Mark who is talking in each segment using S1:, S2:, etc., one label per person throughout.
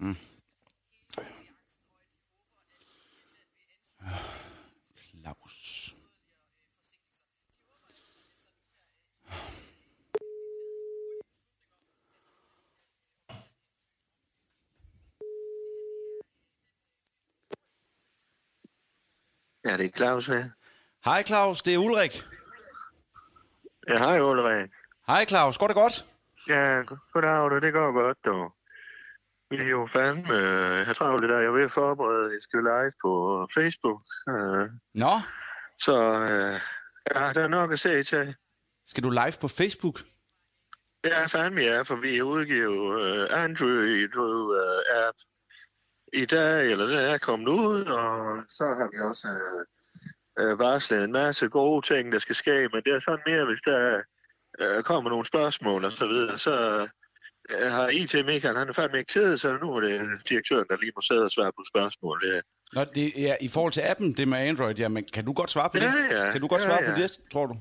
S1: Mm. Claus.
S2: Ja, det er Claus her.
S1: Hej Claus, det er Ulrik.
S2: Ja, hej Ulrik.
S1: Hej Claus, går det godt?
S2: Ja, go- goddag, du. det går godt, du. Vi er jo fandme, øh, jeg har travlt i dag. Jeg er ved at forberede, jeg skal live på Facebook. Øh,
S1: Nå,
S2: så øh, ja, der er nok at se til.
S1: skal du live på Facebook?
S2: Ja, fandme ja, for vi udgiver øh, Android-app øh, i dag, eller den er kommet ud, og så har vi også øh, øh, varslet en masse gode ting, der skal ske, men det er sådan mere, hvis der øh, kommer nogle spørgsmål og så videre, så øh, har IT Michael, han er fandme ikke tid, så nu er det direktøren, der lige må sidde og svare på spørgsmål. Det,
S1: Nå, det er i forhold til appen, det med Android, ja, men kan du godt svare på det?
S2: Ja, ja.
S1: Kan du godt
S2: Ja,
S1: svare
S2: ja.
S1: på det, tror du?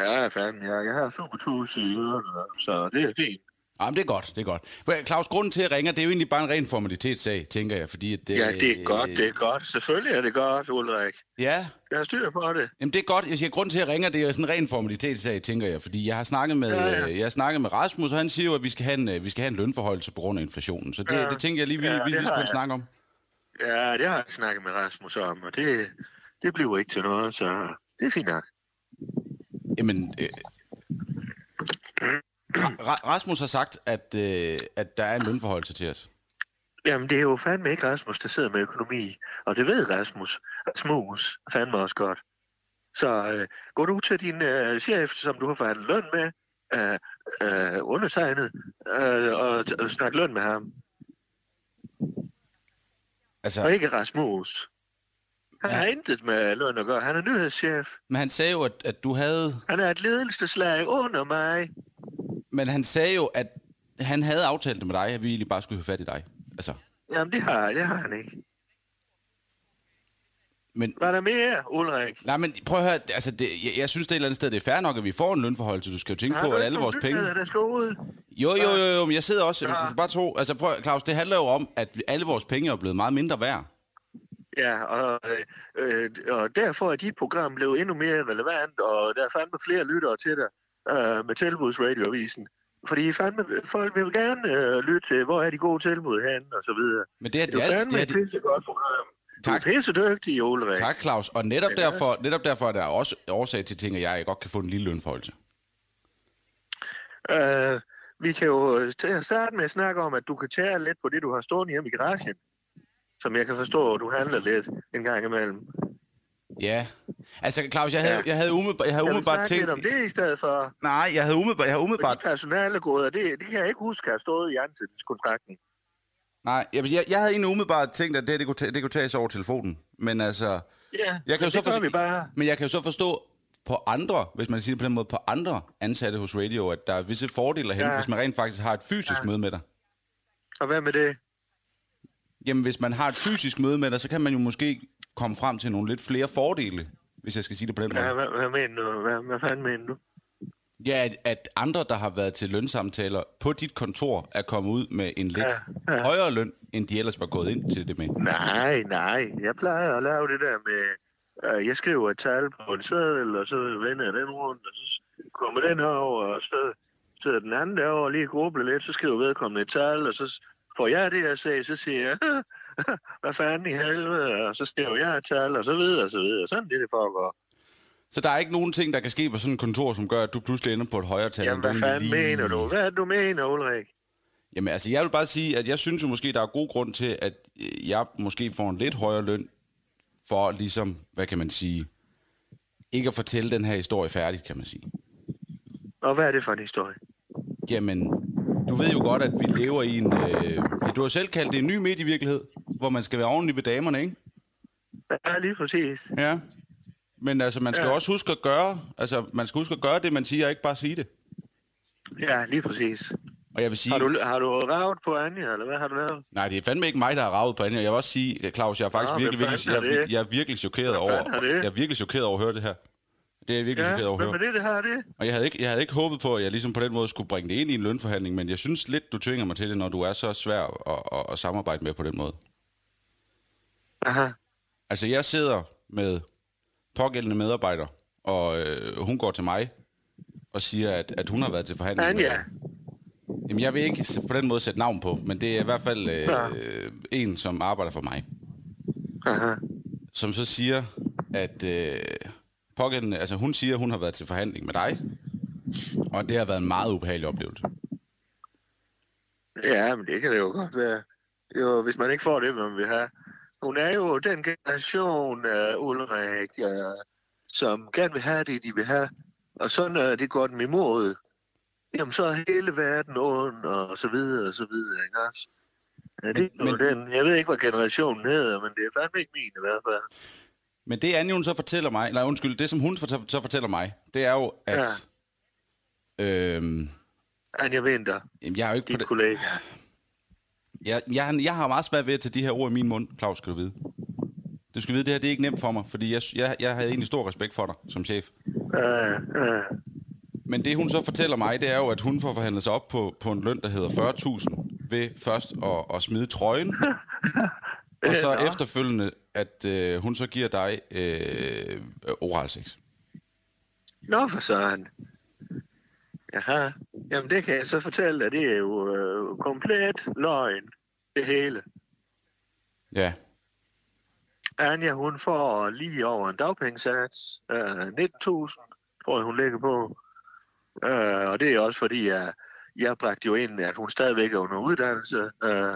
S2: ja, fandme, jeg, jeg har super tus i ørerne, så det er fint.
S1: Jamen, det er godt, det er godt. Men Claus, grunden til, at jeg ringer, det er jo egentlig bare en ren formalitetssag, tænker jeg, fordi... At, øh,
S2: Ja, det er godt, det er godt. Selvfølgelig er det godt, Ulrik.
S1: Ja,
S2: Jeg har styr på det.
S1: Jamen det er godt. Jeg siger, grunden til, at jeg ringer, det er sådan en ren formalitetssag, tænker jeg. Fordi jeg har snakket med, ja,
S2: Ja,
S1: ja.
S2: ja.
S1: Jeg har snakket med Rasmus, og han siger jo, at vi skal have en, øh, vi skal have en lønforhøjelse på grund af inflationen. Så det, ja. det tænker jeg lige, vi,
S2: Ja,
S1: ja, vi lige
S2: det har
S1: skulle
S2: jeg.
S1: snakke om.
S2: Ja, det har jeg snakket med Rasmus om, og det, det bliver ikke til noget, så det er fint nok.
S1: Jamen, øh, Ra- Rasmus har sagt, at, øh, at der er en lønforhøjelse til os.
S2: Jamen, det er jo fandme ikke Rasmus, der sidder med økonomi, og det ved Rasmus. Rasmus fandme også godt. Så øh, går du til din øh, chef, som du har forhandlet løn med, øh, øh, undertegnet, øh, og, t- og snak løn med ham, og
S1: Altså,
S2: ikke Rasmus. Han
S1: Ja.
S2: har intet med løn at gøre. Han er nyhedschef.
S1: men han sagde jo, at, at du havde...
S2: Han er et ledelseslag under mig.
S1: Men han sagde jo, at han havde aftalt det med dig, at vi egentlig bare skulle have fat i dig. Altså,
S2: Jamen, det har, det har han ikke.
S1: men,
S2: Var der mere, Ulrik?
S1: Nej, men prøv at høre, altså det, jeg, jeg synes det er et eller andet sted, det er fair nok, at vi får en lønforhøjelse. Du skal jo tænke
S2: Har
S1: på,
S2: du
S1: at
S2: ikke
S1: alle
S2: nogen
S1: vores penge...
S2: nyheder, der skal ud?
S1: Jo, jo, jo, jo, men jeg sidder også...
S2: Ja.
S1: Ja. Bare to. Altså, prøv, Claus, det handler jo om, at vi- alle vores penge er blevet meget mindre værd.
S2: Ja, og, øh, øh, og derfor er dit program blevet endnu mere relevant, og der er fandme flere lyttere til dig øh, med tilbudsradioavisen. Fordi fandme, folk vil gerne øh, lytte til, hvor er de gode tilbud hen, og så videre.
S1: Men det er det,
S2: Det er jo
S1: alt,
S2: fandme
S1: det er
S2: et
S1: det,
S2: pissegodt program.
S1: Tak.
S2: Du er pissedygtig, Ulrik.
S1: Tak, Claus. Og netop derfor, netop derfor er der også årsag til ting, at jeg godt kan få en lille lønforholdelse.
S2: Øh, vi kan jo øh, til at starte med at snakke om, at du kan tære lidt på det, du har stående hjemme i garagen. Som jeg kan forstå, at du handler lidt en gang imellem.
S1: Ja. Altså, Claus, jeg havde,
S2: Ja.
S1: jeg havde umiddelbart, jeg havde
S2: Jeg vil
S1: umiddelbart
S2: snakke
S1: tænkt...
S2: lidt om det i stedet for...
S1: Nej, jeg havde umiddelbart, jeg havde
S2: Fordi
S1: umiddelbart...
S2: personalegoder, det, det kan jeg ikke huske har stået i ansættelseskontrakten.
S1: Nej, jeg, jeg, jeg havde egentlig umiddelbart tænkt, at det, her, det, kunne, ta- det kunne tages over telefonen. Men altså...
S2: Ja,
S1: Jeg kan jo
S2: men
S1: så
S2: det gør
S1: forstå,
S2: vi bare.
S1: Men jeg kan jo så forstå på andre, hvis man siger det på den måde, på andre ansatte hos radio, at der er visse fordele hen, ja.
S2: Ja.
S1: hvis man rent faktisk har et fysisk ja. møde med dig.
S2: Og hvad med det?
S1: Jamen, hvis man har et fysisk møde med dig, så kan man jo måske komme frem til nogle lidt flere fordele, hvis jeg skal sige det på den måde.
S2: Ja, hvad, hvad mener du? Hvad, hvad fanden mener du?
S1: Ja, at, at andre, der har været til lønsamtaler på dit kontor, er kommet ud med en lidt ja.
S2: Ja, ja.
S1: højere løn, end de ellers var gået ind til det med.
S2: Nej, nej. Jeg plejer at lave det der med... Øh, jeg skriver et tal på en seddel, og så vender jeg den rundt, og så kommer den over, og så sidder den anden derovre og lige gruble lidt, så skriver vedkommende et tal, og så får jeg det, jeg sagde, så siger jeg, hvad fanden i helvede, og så skriver jeg et tal, og så videre, og så videre. Sådan er det, det foregår.
S1: Så der er ikke nogen ting, der kan ske på sådan et kontor, som gør, at du pludselig ender på et højere tal.
S2: Jamen,
S1: end du
S2: hvad
S1: egentlig
S2: fanden mener du? Hvad er det, du mener, Ulrik?
S1: Jamen altså, jeg vil bare sige, at jeg synes jo måske, der er god grund til, at øh, jeg måske får en lidt højere løn for ligesom, hvad kan man sige, ikke at fortælle den her historie færdigt, kan man sige.
S2: Og hvad er det for en historie?
S1: Jamen, du ved jo godt, at vi lever i en, øh, ja, du har selv kaldt det en ny medievirkelighed, hvor man skal være ordentlig ved damerne, ikke?
S2: Ja, lige præcis.
S1: Ja. Men altså, man skal ja.
S2: Ja.
S1: også huske at gøre, altså, man skal huske at gøre det, man siger, og ikke bare sige det.
S2: Ja, lige præcis.
S1: Og jeg vil sige...
S2: Har du, har du ravet på Anja, eller hvad har du lavet?
S1: Nej, det er fandme ikke mig, der har ravet på Anja. Jeg vil også sige, Claus, jeg er faktisk
S2: Nå,
S1: virkelig,
S2: hvad
S1: virkelig, jeg,
S2: fanden er
S1: er-
S2: det?
S1: jeg er virkelig chokeret
S2: Hvad
S1: over,
S2: fanden er det?
S1: jeg er virkelig chokeret over at høre det her. Det er jeg virkelig ja, chokeret over at
S2: men
S1: høre.
S2: med det, det her, det.
S1: Og jeg havde, ikke, jeg havde ikke håbet på, at jeg ligesom på den måde skulle bringe det ind i en lønforhandling, men jeg synes lidt, du tvinger mig til det, når du er så svær at, at, at samarbejde med på den måde.
S2: Aha.
S1: Altså, jeg sidder med pågældende medarbejder, og øh, hun går til mig og siger, at, at hun har været til forhandling. med-
S2: Anja.
S1: Jamen, jeg vil ikke s- på den måde sætte navn på, men det er i hvert fald øh, øh, en, som arbejder for mig,
S2: Aha.
S1: som så siger, at øh, pågældende, altså, hun siger, at hun har været til forhandling med dig, og det har været en meget ubehagelig oplevelse.
S2: Ja, men det kan det jo godt være. Jo, hvis man ikke får det, man vil have. Hun er jo den generation, uh, Ulrik, uh, som gerne vil have det, de vil have. Og sådan er uh, det går dem imod. Jamen, så er hele verden ond, og så videre, og så videre, ikke også? Ja, det
S1: Men-
S2: er men, den. Jeg ved ikke, hvad generationen hedder, men det er fandme ikke min i hvert fald.
S1: Men det Anja, hun så fortæller mig, nej undskyld, det som hun for, så fortæller mig, det er jo, at ja. øhm,
S2: Anja Vinter,
S1: jamen, jeg er jo ikke på
S2: din
S1: det.
S2: kollega.
S1: Jeg, jeg, jeg har meget svært ved at tage de her ord i min mund, Claus, skal du vide. Du skal vide, det her det er ikke nemt for mig, fordi jeg, jeg, jeg havde egentlig stor respekt for dig som chef.
S2: Uh, uh,
S1: Men det, hun så fortæller mig, det er jo, at hun får forhandlet sig op på, på en løn, der hedder 40.000, ved først at, at smide trøjen, og så
S2: Nå.
S1: efterfølgende, at øh, hun så giver dig øh, oral sex.
S2: Nå for søren. Jaha. Jamen det kan jeg så fortælle dig, det er jo øh, komplet løgn, det hele.
S1: Ja,
S2: Anja, hun får lige over en dagpengesats, øh, 19.000, tror jeg, hun ligger på. Øh, og det er også fordi, jeg, jeg bragte jo ind, at hun stadigvæk er under uddannelse. Øh,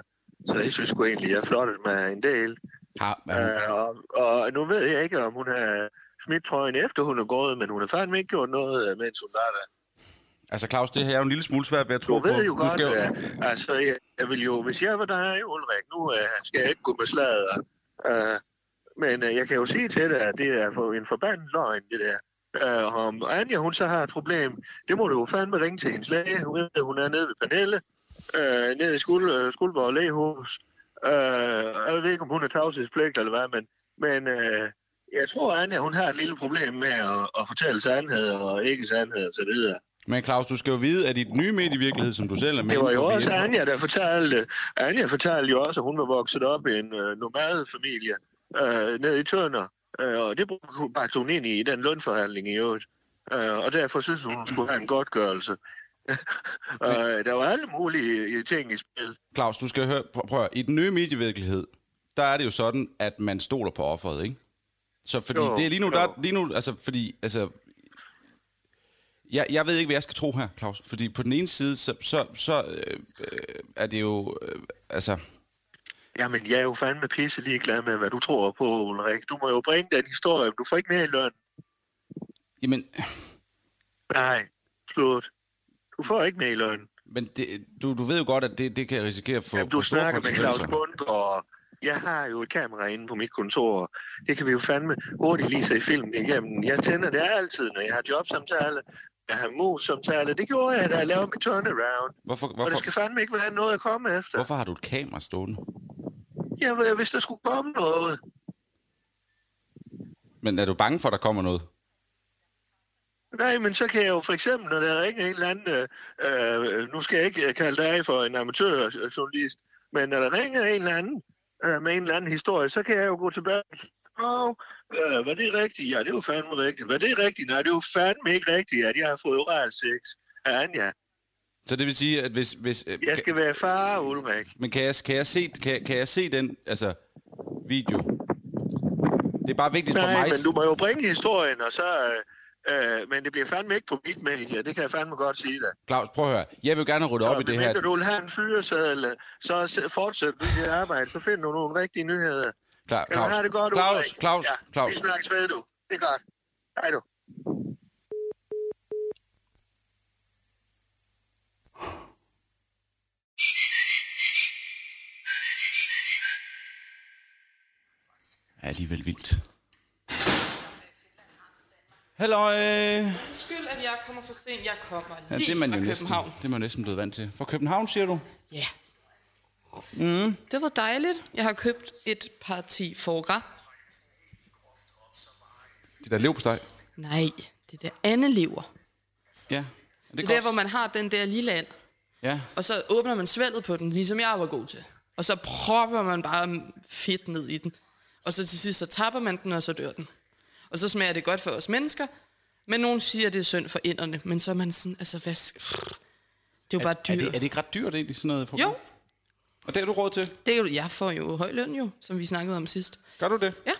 S2: så jeg synes sgu egentlig, jeg flottede mig en del.
S1: har, er hun,
S2: Øh, og, og nu ved jeg ikke, om hun har smidt trøjen efter hun er gået, men hun har fandme ikke gjort noget, øh, mens hun var der.
S1: altså Claus, det her er jo en lille smule svært ved at tro
S2: Du
S1: på.
S2: ved jo godt,
S1: skal jo-
S2: at, altså, jeg, jeg vil jo, hvis jeg var dig, Ulrik, nu uh, skal jeg ikke gå med sladder. Uh, men uh, jeg kan jo sige til dig, at det er for en forbandet løgn, det der. Uh, om Anja, hun så har et problem, det må du jo fandme ringe til hendes læge. Hun, ved, hun er nede ved Pernille, uh, nede i Skuld, Skuldborg Lægehus. Uh, jeg ved ikke, om hun er tavshedspligt eller hvad, men, men uh, jeg tror, Anja, hun har et lille problem med at, at fortælle sandhed og ikke sandhed osv.
S1: Men Claus, du skal jo vide, at i den nye medievirkelighed, som du selv er med
S2: Det var
S1: inde
S2: jo
S1: på, vi er
S2: også
S1: inde på-
S2: Anja, der fortalte, Anja fortalte jo også, at hun var vokset op i en øh, nomadefamilie øh, nede i Tønder. Øh, og det brugte hun ind i, i den lønforhandling i øvrigt. Øh, og derfor synes hun, hun skulle have en godtgørelse. øh, der var alle mulige øh, ting i spil.
S1: Claus, du skal høre, prøv, prøv at høre. i den nye medievirkelighed, der er det jo sådan, at man stoler på offeret, ikke? Så fordi
S2: Jo,
S1: jo, det er lige nu,
S2: jo.
S1: der, lige nu, altså fordi, altså, jeg, jeg ved ikke, hvad jeg skal tro her, Claus. Fordi på den ene side, så, så, så øh, øh, er det jo, øh, altså,
S2: Jamen, jeg er jo fandme pisse ligeglad med, hvad du tror på, Ulrik. Du må jo bringe den historie, men du får ikke mere i løn.
S1: jamen,
S2: Nej, slut. Du får ikke mere i løn.
S1: men det, du, du ved jo godt, at det, det kan risikere at få
S2: Jamen,
S1: få
S2: du
S1: store
S2: snakker med Claus
S1: konsekvenser.
S2: Bundgaard. Jeg har jo et kamera inde på mit kontor. Det kan vi jo fandme hurtigt lige se i filmen igennem. Jeg tænder det altid, når jeg har jobsamtale, jeg har mus-samtale. Det gjorde jeg, da jeg lavede mit turnaround.
S1: Hvorfor,
S2: Og det
S1: hvorfor,
S2: skal fandme ikke være noget at komme efter.
S1: hvorfor har du et kamera stående?
S2: Jeg ved, hvis der skulle komme noget.
S1: Men er du bange for, at der kommer noget?
S2: Nej, men så kan jeg jo for eksempel, når der ringer en eller anden, øh, øh, nu skal jeg ikke øh, kalde dig for en amatørjournalist, men når der ringer en eller anden øh, med en eller anden historie, så kan jeg jo gå tilbage og sige, Åh, øh, var det rigtigt? Ja, det var fandme rigtigt. Var det rigtigt? Nej, det var fandme ikke rigtigt, at jeg har fået oral sex af Anja.
S1: Så det vil sige, at hvis... hvis øh,
S2: Jeg skal være far, Ulrik.
S1: Men kan jeg, kan jeg, se, kan, kan jeg se den altså, video? Det er bare vigtigt for
S2: Nej,
S1: mig.
S2: men du må jo bringe historien, og så... Øh, øh, men det bliver fandme ikke på mit medie, det kan jeg fandme godt sige dig.
S1: Claus, prøv at høre. Jeg vil gerne rydde op i
S2: Så
S1: det her.
S2: medmindre du vil have en fyreseddel, øh, så se- fortsæt med dit arbejde, så finder du nogle rigtige nyheder.
S1: Kla-
S2: Jamen, har det godt,
S1: Claus,
S2: Ulrik.
S1: Claus,
S2: ja,
S1: Claus.
S2: Vi snakkes ved, du. Det er godt. Hej du.
S1: Ja, alligevel vildt. Hallo. Ja,
S3: Undskyld, at jeg kommer for sent. Jeg kommer lige
S1: det er man
S3: fra
S1: jo næsten,
S3: København.
S1: det er man næsten blevet vant til. Fra København, siger du?
S3: Ja. Mm. Det var dejligt. Jeg har købt et parti forra.
S1: Det der lever på dig.
S3: Nej, Det der andelever.
S1: Ja.
S3: Det er der, hvor man har den der lille and.
S1: Ja.
S3: Og så åbner man svældet på den, ligesom jeg var god til. Og så propper man bare fedt ned i den. Og så til sidst, så tapper man den, og så dør den. Og så smager det godt for os mennesker. Men nogen siger, at det er synd for inderne. Men så er man sådan, altså hvad... sk- Det er jo bare
S1: Er
S3: dyr.
S1: det, er det ikke ret dyrt egentlig, sådan noget? frugt?
S3: Jo,
S1: Og det har du råd til?
S3: det er jo, jeg får jo høj løn jo, som vi snakkede om sidst.
S1: Gør du det?
S3: Ja,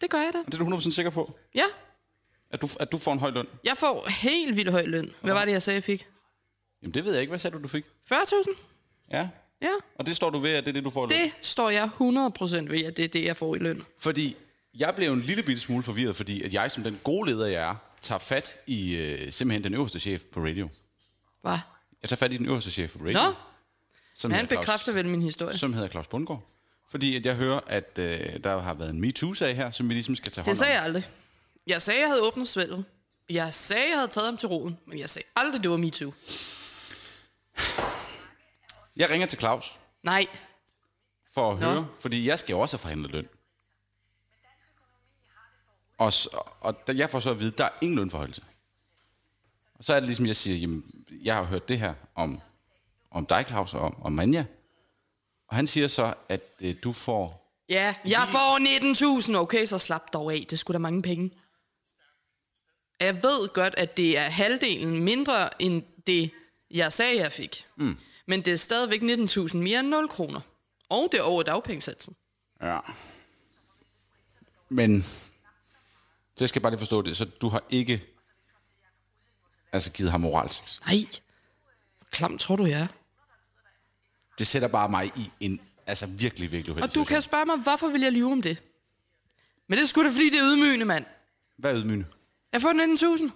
S3: det gør jeg da.
S1: Og det er du 100% sikker på?
S3: Ja,
S1: At du, at du får en høj løn?
S3: jeg får helt vildt høj løn. Hvad var det, jeg sagde, jeg fik?
S1: Jamen det ved jeg ikke. Hvad sagde du, du fik?
S3: 40.000?
S1: Ja.
S3: Ja,
S1: Og det står du ved, at det er det, du får i løn?
S3: det står jeg 100% ved, at det er det, jeg får i løn.
S1: Fordi jeg blev en lille bitte smule forvirret, fordi at jeg som den gode leder, jeg er, tager fat i øh, simpelthen den øverste chef på radio.
S3: Hva?
S1: Jeg tager fat i den øverste chef på radio.
S3: Nå,
S1: som
S3: han
S1: hedder Claus-
S3: bekræfter vel min historie.
S1: Som hedder Claus Bundgaard. Fordi at jeg hører, at øh, der har været en MeToo-sag her, som vi ligesom skal tage hånd om.
S3: Det sagde jeg aldrig. Jeg sagde, jeg havde åbnet svældet. Jeg sagde, jeg havde taget ham til roden, men jeg sagde aldrig, det var MeToo.
S1: Jeg ringer til Claus
S3: Nej,
S1: for at
S3: Nå.
S1: høre, fordi jeg skal jo også have forhandlet løn. Og, s- og da- jeg får så at vide, at der er ingen lønforholdelse. Og så er det ligesom, jeg siger, jamen, jeg har hørt det her om, om dig, Claus, og om, om Manja. Og han siger så, at øh, du får...
S3: ja, jeg får 19.000. Okay, så slap dog af. Det skulle da mange penge. Jeg ved godt, at det er halvdelen mindre, end det, jeg sagde, jeg fik. Mm. Men det er stadigvæk 19.000 mere end 0 kroner. Og det er over dagpengesatsen.
S1: Ja. Men... Så jeg skal bare lige forstå det. Så du har ikke altså givet ham moralsex.
S3: Nej. Hvor klam tror du, jeg er?
S1: Det sætter bare mig i en altså virkelig, virkelig uheldig
S3: Og du kan
S1: situation.
S3: spørge mig, hvorfor vil jeg lyve om det? Men det er sgu da, fordi det er ydmygende, mand.
S1: Hvad er ydmygende?
S3: Jeg får 19.000.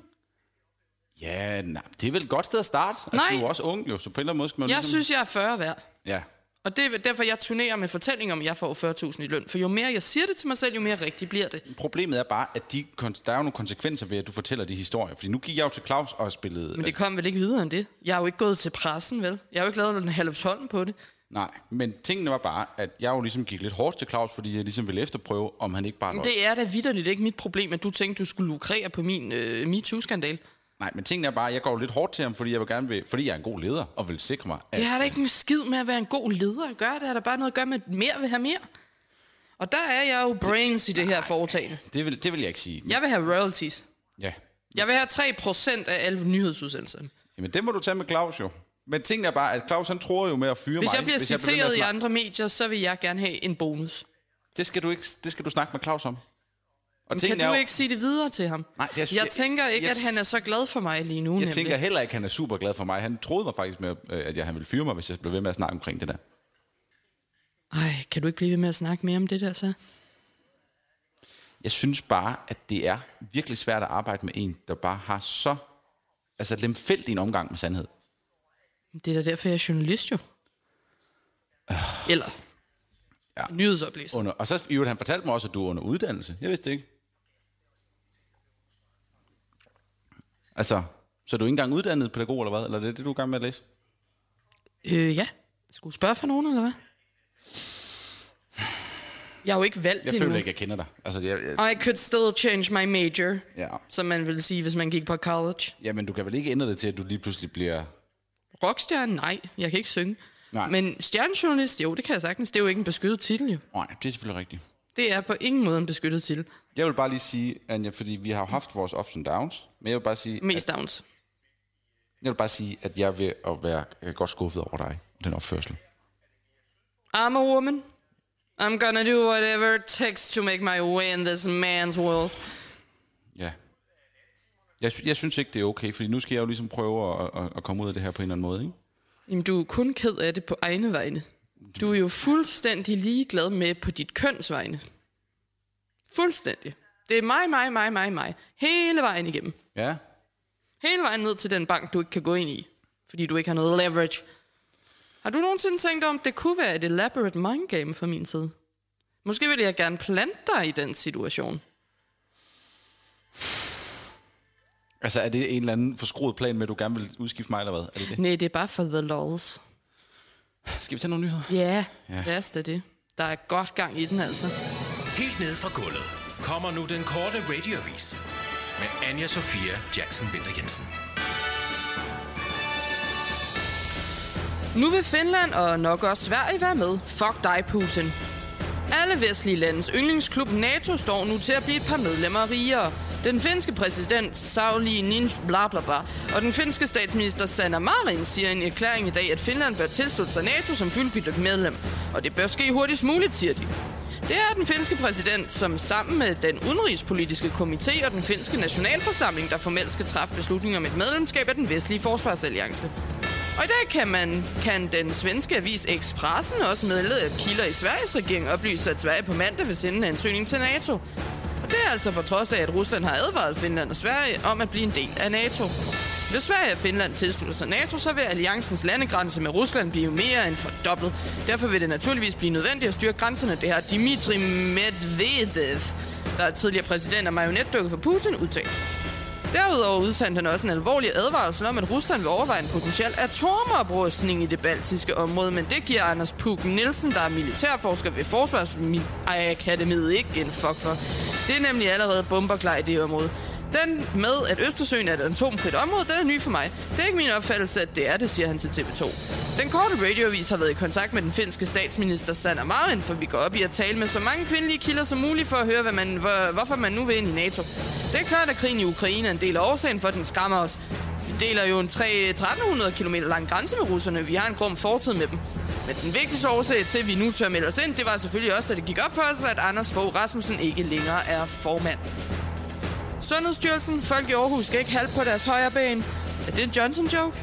S1: Ja, nej, det er vel et godt sted at starte. Altså,
S3: Nej.
S1: Du er jo også ung, jo, så på en eller anden måde skal man... ligesom-
S3: Jeg synes, jeg er 40 værd.
S1: Ja.
S3: Og det er derfor, jeg turnerer med fortællinger om, at jeg får 40.000 i løn. For jo mere jeg siger det til mig selv, jo mere rigtigt bliver det.
S1: Problemet er bare, at de, kon- der er jo nogle konsekvenser ved, at du fortæller de historier. Fordi nu gik jeg jo til Claus og spillede...
S3: Men det kom vel ikke videre end det. Jeg har jo ikke gået til pressen, vel? Jeg har jo ikke lavet en halv hånd på det.
S1: Nej, men tingene var bare, at jeg jo ligesom gik lidt hårdt til Claus, fordi jeg ligesom ville efterprøve, om han ikke bare... løj.
S3: Det er da vidderligt ikke mit problem, at du tænkte, du skulle lukrere på min øh, MeToo-skandal.
S1: Nej, men tingene er bare, at jeg går jo lidt hårdt til ham, fordi jeg, vil gerne vil, fordi jeg er en god leder og vil sikre mig, at...
S3: Det har da ikke en skid med at være en god leder at gøre. Det har da bare noget at gøre med, at mere vil have mere. Og der er jeg jo brains i det her foretagende.
S1: Det vil, det vil jeg ikke sige.
S3: Jeg vil have royalties.
S1: ja.
S3: Jeg vil have 3% af alle nyhedsudsendelserne.
S1: Jamen, det må du tage med Claus jo. Men tingene er bare, at Claus han tror jo med at fyre
S3: Hvis
S1: mig.
S3: jeg bliver
S1: begynder at
S3: citeret i
S1: snakke-
S3: andre medier, så vil jeg gerne have en bonus.
S1: Det skal, du ikke, det skal du snakke med Claus om. Og
S3: Men kan
S1: er
S3: du
S1: jo-
S3: ikke sige det videre til ham?
S1: Nej, det er-
S3: jeg tænker ikke,
S1: jeg-
S3: at han er så glad for mig lige nu.
S1: Jeg tænker heller ikke, han er super glad for mig. Han troede mig faktisk med, øh, at jeg, han ville fyre mig, hvis jeg blev ved med at snakke omkring det der.
S3: Ej, kan du ikke blive ved med at snakke mere om det der så?
S1: Jeg synes bare, at det er virkelig svært at arbejde med en, der bare har så altså lemfældig en omgang med sandhed.
S3: Det er da derfor, jeg er journalist jo. Eller
S1: Ah. Ja.
S3: ja. nyhedsoplæser.
S1: Under, og så i øvrigt, han fortalte mig også, at du er under uddannelse. Jeg vidste det ikke. Altså, så er du ikke engang uddannet pædagog eller hvad? Eller er det det, du er i gang med at læse?
S3: Øh, ja. Skulle du spørge for nogen, eller hvad? Jeg har jo ikke valgt
S1: Jeg
S3: det
S1: føler
S3: nu.
S1: ikke, jeg kender dig. Altså, jeg, jeg,
S3: I could still change my major,
S1: Ja.
S3: som man ville sige, hvis man gik på college.
S1: jamen, du kan vel ikke ændre det til, at du lige pludselig bliver...
S3: Rockstjerne? Nej, jeg kan ikke synge.
S1: Nej.
S3: Men stjernejournalist? Jo, det kan jeg sagtens. Det er jo ikke en beskyttet titel, jo.
S1: Nej, det er selvfølgelig rigtigt.
S3: Det er på ingen måde en beskyttet titel.
S1: Jeg vil bare lige sige, Anja, fordi vi har jo haft vores ups and downs, men jeg vil bare sige,
S3: Mest downs.
S1: jeg vil bare sige at jeg vil at være jeg er godt skuffet over dig, og den opførsel.
S3: I'm a woman. I'm gonna do whatever it takes to make my way in this man's world.
S1: Ja. Jeg, sy- jeg synes ikke, det er okay, fordi nu skal jeg jo ligesom prøve at, at, at komme ud af det her på en eller anden måde, ikke?
S3: Jamen, du er kun ked af det på egne vegne. Du er jo fuldstændig ligeglad med på dit køns vegne. Fuldstændig. Det er mig, mig, mig, mig, mig. Hele vejen igennem.
S1: Ja.
S3: Hele vejen ned til den bank, du ikke kan gå ind i, fordi du ikke har noget leverage. Har du nogensinde tænkt om, det kunne være et elaborate mind game fra min side? Måske ville jeg gerne plante dig i den situation.
S1: Altså, er det en eller anden forskruet plan med, at du gerne vil udskifte mig, eller hvad? Er det det?
S3: Nej, det er bare for the lols.
S1: Skal vi tage nogle nyheder?
S3: Ja, yeah, yeah. det er det. Der er godt gang i den, altså.
S4: Helt ned fra gulvet kommer nu den korte radiovis. med Anja Sofia Jackson Vinter Jensen.
S3: Nu vil Finland og nok også Sverige være med. Fuck dig, Putin. Alle vestlige landes yndlingsklub NATO står nu til at blive et par medlemmer rigere. Den finske præsident Sauli Nins bla bla bla, og den finske statsminister Sanna Marin siger i en erklæring i dag, at Finland bør tilslutte sig NATO som fuldgyldigt medlem. Og det bør ske hurtigst muligt, siger de. Det er den finske præsident, som sammen med den udenrigspolitiske komité og den finske nationalforsamling, der formelt skal træffe beslutninger om et medlemskab af den vestlige forsvarsalliance. Og i dag kan, man, kan den svenske avis Expressen også medlede af kilder i Sveriges regering oplyse, at Sverige på mandag vil sende en ansøgning til NATO. Og det er altså på trods af, at Rusland har advaret Finland og Sverige om at blive en del af NATO. Hvis Sverige og Finland tilslutter sig NATO, så vil alliancens landegrænse med Rusland blive mere end fordoblet. Derfor vil det naturligvis blive nødvendigt at styrke grænserne. Det har Dmitri Medvedev, der er tidligere præsident og marionetdukke for Putin, udtalt. Derudover udsendte han også en alvorlig advarsel om, at Rusland vil overveje en potentiel atomoprustning i det baltiske område, men det giver Anders Puk Nielsen, der er militærforsker ved Forsvarsakademiet, ikke en fuck for. Det er nemlig allerede bomberklar i det område. Den med, at Østersøen er et atomfrit område, den er ny for mig. Det er ikke min opfattelse, at det er det, siger han til TV2. Den korte radioavis har været i kontakt med den finske statsminister Sanna Marin, for vi går op i at tale med så mange kvindelige kilder som muligt for at høre, hvad man, hvor, hvorfor man nu vil ind i NATO. Det er klart, at krigen i Ukraine er en del af årsagen for, at den skræmmer os. Vi deler jo en 3, 1300 km lang grænse med russerne. Vi har en grum fortid med dem. Men den vigtigste årsag til, at vi nu tør melde os ind, det var selvfølgelig også, at det gik op for os, at Anders Fogh Rasmussen ikke længere er formand. Sundhedsstyrelsen, folk i Aarhus skal ikke halve på deres højre ben. Er det en Johnson-joke?